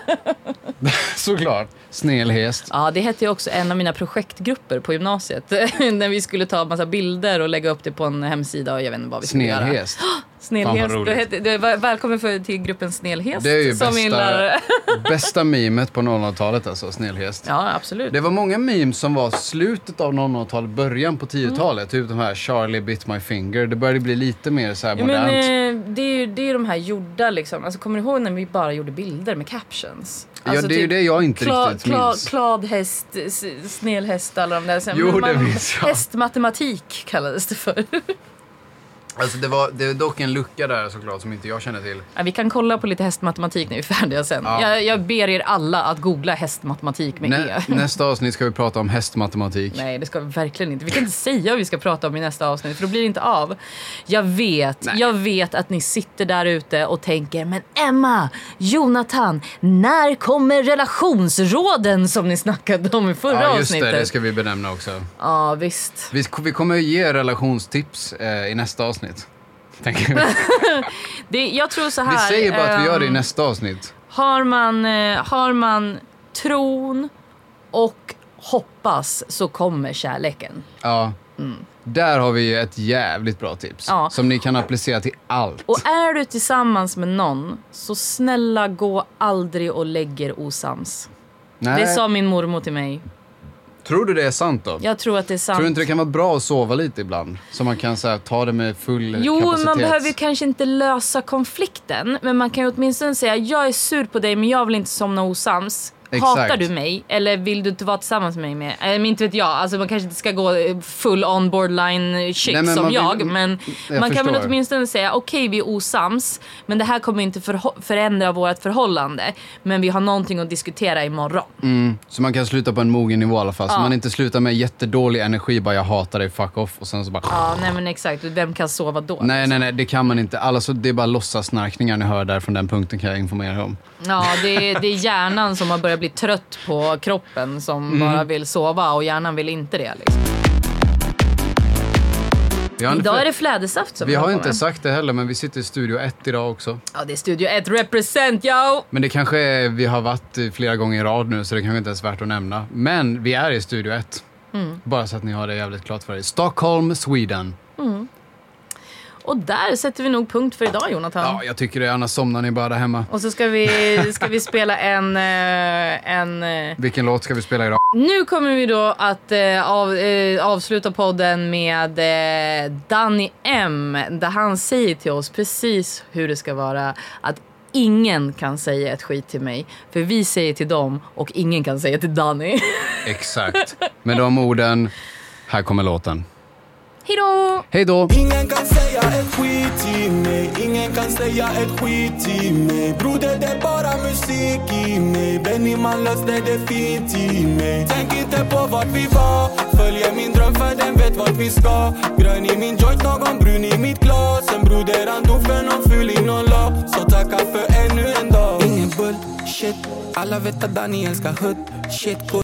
Speaker 1: Såklart. Snällhäst.
Speaker 2: Ja, det hette ju också en av mina projektgrupper på gymnasiet. När vi skulle ta massa bilder och lägga upp det på en hemsida och jag vet inte vad vi skulle göra.
Speaker 1: Snällhäst. Fan,
Speaker 2: Snällhäst.
Speaker 1: vad roligt.
Speaker 2: Det hette, det var, välkommen för, till gruppen Snällhäst.
Speaker 1: Det är ju
Speaker 2: som min lärare.
Speaker 1: bästa, bästa memet på 00-talet alltså, snällhäst.
Speaker 2: Ja, absolut.
Speaker 1: Det var många memes som var slutet av 00-talet, början
Speaker 2: Mm.
Speaker 1: på 10-talet. Typ de här Charlie bit my finger. Det började bli lite mer så här
Speaker 2: Ja,
Speaker 1: modernt.
Speaker 2: men, eh, det, är ju, det är ju de här gjorda liksom. Alltså, kommer du ihåg när vi bara gjorde bilder med captions? Alltså,
Speaker 1: ja, det är ju det jag inte
Speaker 2: Kla,
Speaker 1: riktigt
Speaker 2: kla,
Speaker 1: minns.
Speaker 2: kladhäst, s- snällhäst alla de där. Sen,
Speaker 1: Jo,
Speaker 2: men
Speaker 1: det minns jag.
Speaker 2: Hästmatematik kallades det för.
Speaker 1: Alltså det var, det är dock en lucka där såklart som inte jag känner till.
Speaker 2: Ja, vi kan kolla på lite hästmatematik när vi är färdiga sen.
Speaker 1: Ja.
Speaker 2: Jag, jag ber er alla att googla hästmatematik med
Speaker 1: Nä,
Speaker 2: E.
Speaker 1: nästa avsnitt ska vi prata om hästmatematik.
Speaker 2: Nej, det ska vi verkligen inte. Vi kan inte säga vad vi ska prata om i nästa avsnitt för då blir det inte av. Jag vet,
Speaker 1: Nej.
Speaker 2: jag vet att ni sitter där ute och tänker men Emma, Jonathan, när kommer relationsråden som ni snackade om i förra
Speaker 1: ja, just
Speaker 2: avsnittet?
Speaker 1: det. Det ska vi benämna också.
Speaker 2: Ja, visst.
Speaker 1: Vi, vi kommer ju ge relationstips eh, i nästa avsnitt. Tänker jag.
Speaker 2: Det, jag tror så här.
Speaker 1: Vi säger bara att vi gör det i
Speaker 2: ehm,
Speaker 1: nästa avsnitt.
Speaker 2: Har man, eh, har man tron och hoppas så kommer kärleken.
Speaker 1: Ja. Där har vi ju ett jävligt bra tips
Speaker 2: Mm. Ja.
Speaker 1: som ni kan applicera till allt.
Speaker 2: Och är du tillsammans med någon så snälla gå aldrig och lägg er osams.
Speaker 1: Nej.
Speaker 2: Det sa min mormor till mig.
Speaker 1: Tror du det är sant då?
Speaker 2: Jag tror att det är sant.
Speaker 1: Tror du inte det kan vara bra att sova lite ibland? Så man kan så här, ta det med full
Speaker 2: Jo,
Speaker 1: kapacitet.
Speaker 2: man behöver ju kanske inte lösa konflikten, men man kan ju åtminstone säga jag är sur på dig men jag vill inte somna osams.
Speaker 1: Exakt.
Speaker 2: Hatar du mig eller vill du inte vara tillsammans med mig mer? Äh, men inte vet jag, alltså man kanske inte ska gå eh, full on borderline chick
Speaker 1: Nej, men
Speaker 2: som
Speaker 1: man vill-
Speaker 2: jag, men
Speaker 1: Jag
Speaker 2: man kan väl
Speaker 1: förstår.
Speaker 2: åtminstone säga okej vi är osams, men det här kommer inte förho- förändra vårt förhållande, men vi har någonting att diskutera imorgon.
Speaker 1: Mm, så man kan sluta på en mogen nivå i alla fall. Så
Speaker 2: Ja.
Speaker 1: man inte slutar med jättedålig energi, bara jag hatar dig, fuck off. Och sen så bara...
Speaker 2: Ja, nej men exakt, vem kan sova då?
Speaker 1: Nej, nej, nej, det kan man inte. Alltså, det är bara låtsassnarkningar ni hör där från den punkten kan jag informera er om.
Speaker 2: Ja, det är, det är hjärnan som har börjat bli trött på kroppen som
Speaker 1: Mm.
Speaker 2: bara vill sova och hjärnan vill inte det. Liksom.
Speaker 1: Vi har, inte-
Speaker 2: Idag är det flädersaft som
Speaker 1: vi har
Speaker 2: håller på
Speaker 1: inte
Speaker 2: med.
Speaker 1: sagt det heller, men vi sitter i Studio 1 idag också.
Speaker 2: Ja, det är Studio 1 represent yo!
Speaker 1: Men det kanske är, vi har varit i flera gånger i rad nu, så det kanske inte ens är värt att nämna. Men vi är i Studio 1.
Speaker 2: Mm.
Speaker 1: Bara så att ni har det jävligt klart för er. Stockholm, Sweden.
Speaker 2: Och där sätter vi nog punkt för idag Jonathan.
Speaker 1: Ja, jag tycker det. Annars somnar ni bara där hemma.
Speaker 2: Och så ska vi, ska vi spela en... eh, en eh,
Speaker 1: Vilken låt ska vi spela idag?
Speaker 2: nu kommer vi då att eh, av, eh, avsluta podden med eh, Danny M. Där han säger till oss precis hur det ska vara. Att ingen kan säga ett skit till mig. För vi säger till dem och ingen kan säga till Danny.
Speaker 1: Exakt. Med de orden, här kommer låten.
Speaker 2: Hej då!
Speaker 1: Hej då!
Speaker 5: Ingen kan säga ett skit till mig, ingen kan säga ett skit till mig Broder det är bara musik i mig, Benny man löste det fint i mig Tänk inte på vart vi var, följer min dröm för den vet vart vi ska Grön i min joint, någon brun i mitt glas En broder han dog för någon ful i någon lag Så tacka för ännu en dag Ingen bullshit, alla vet att Daniel ska hutt Shit,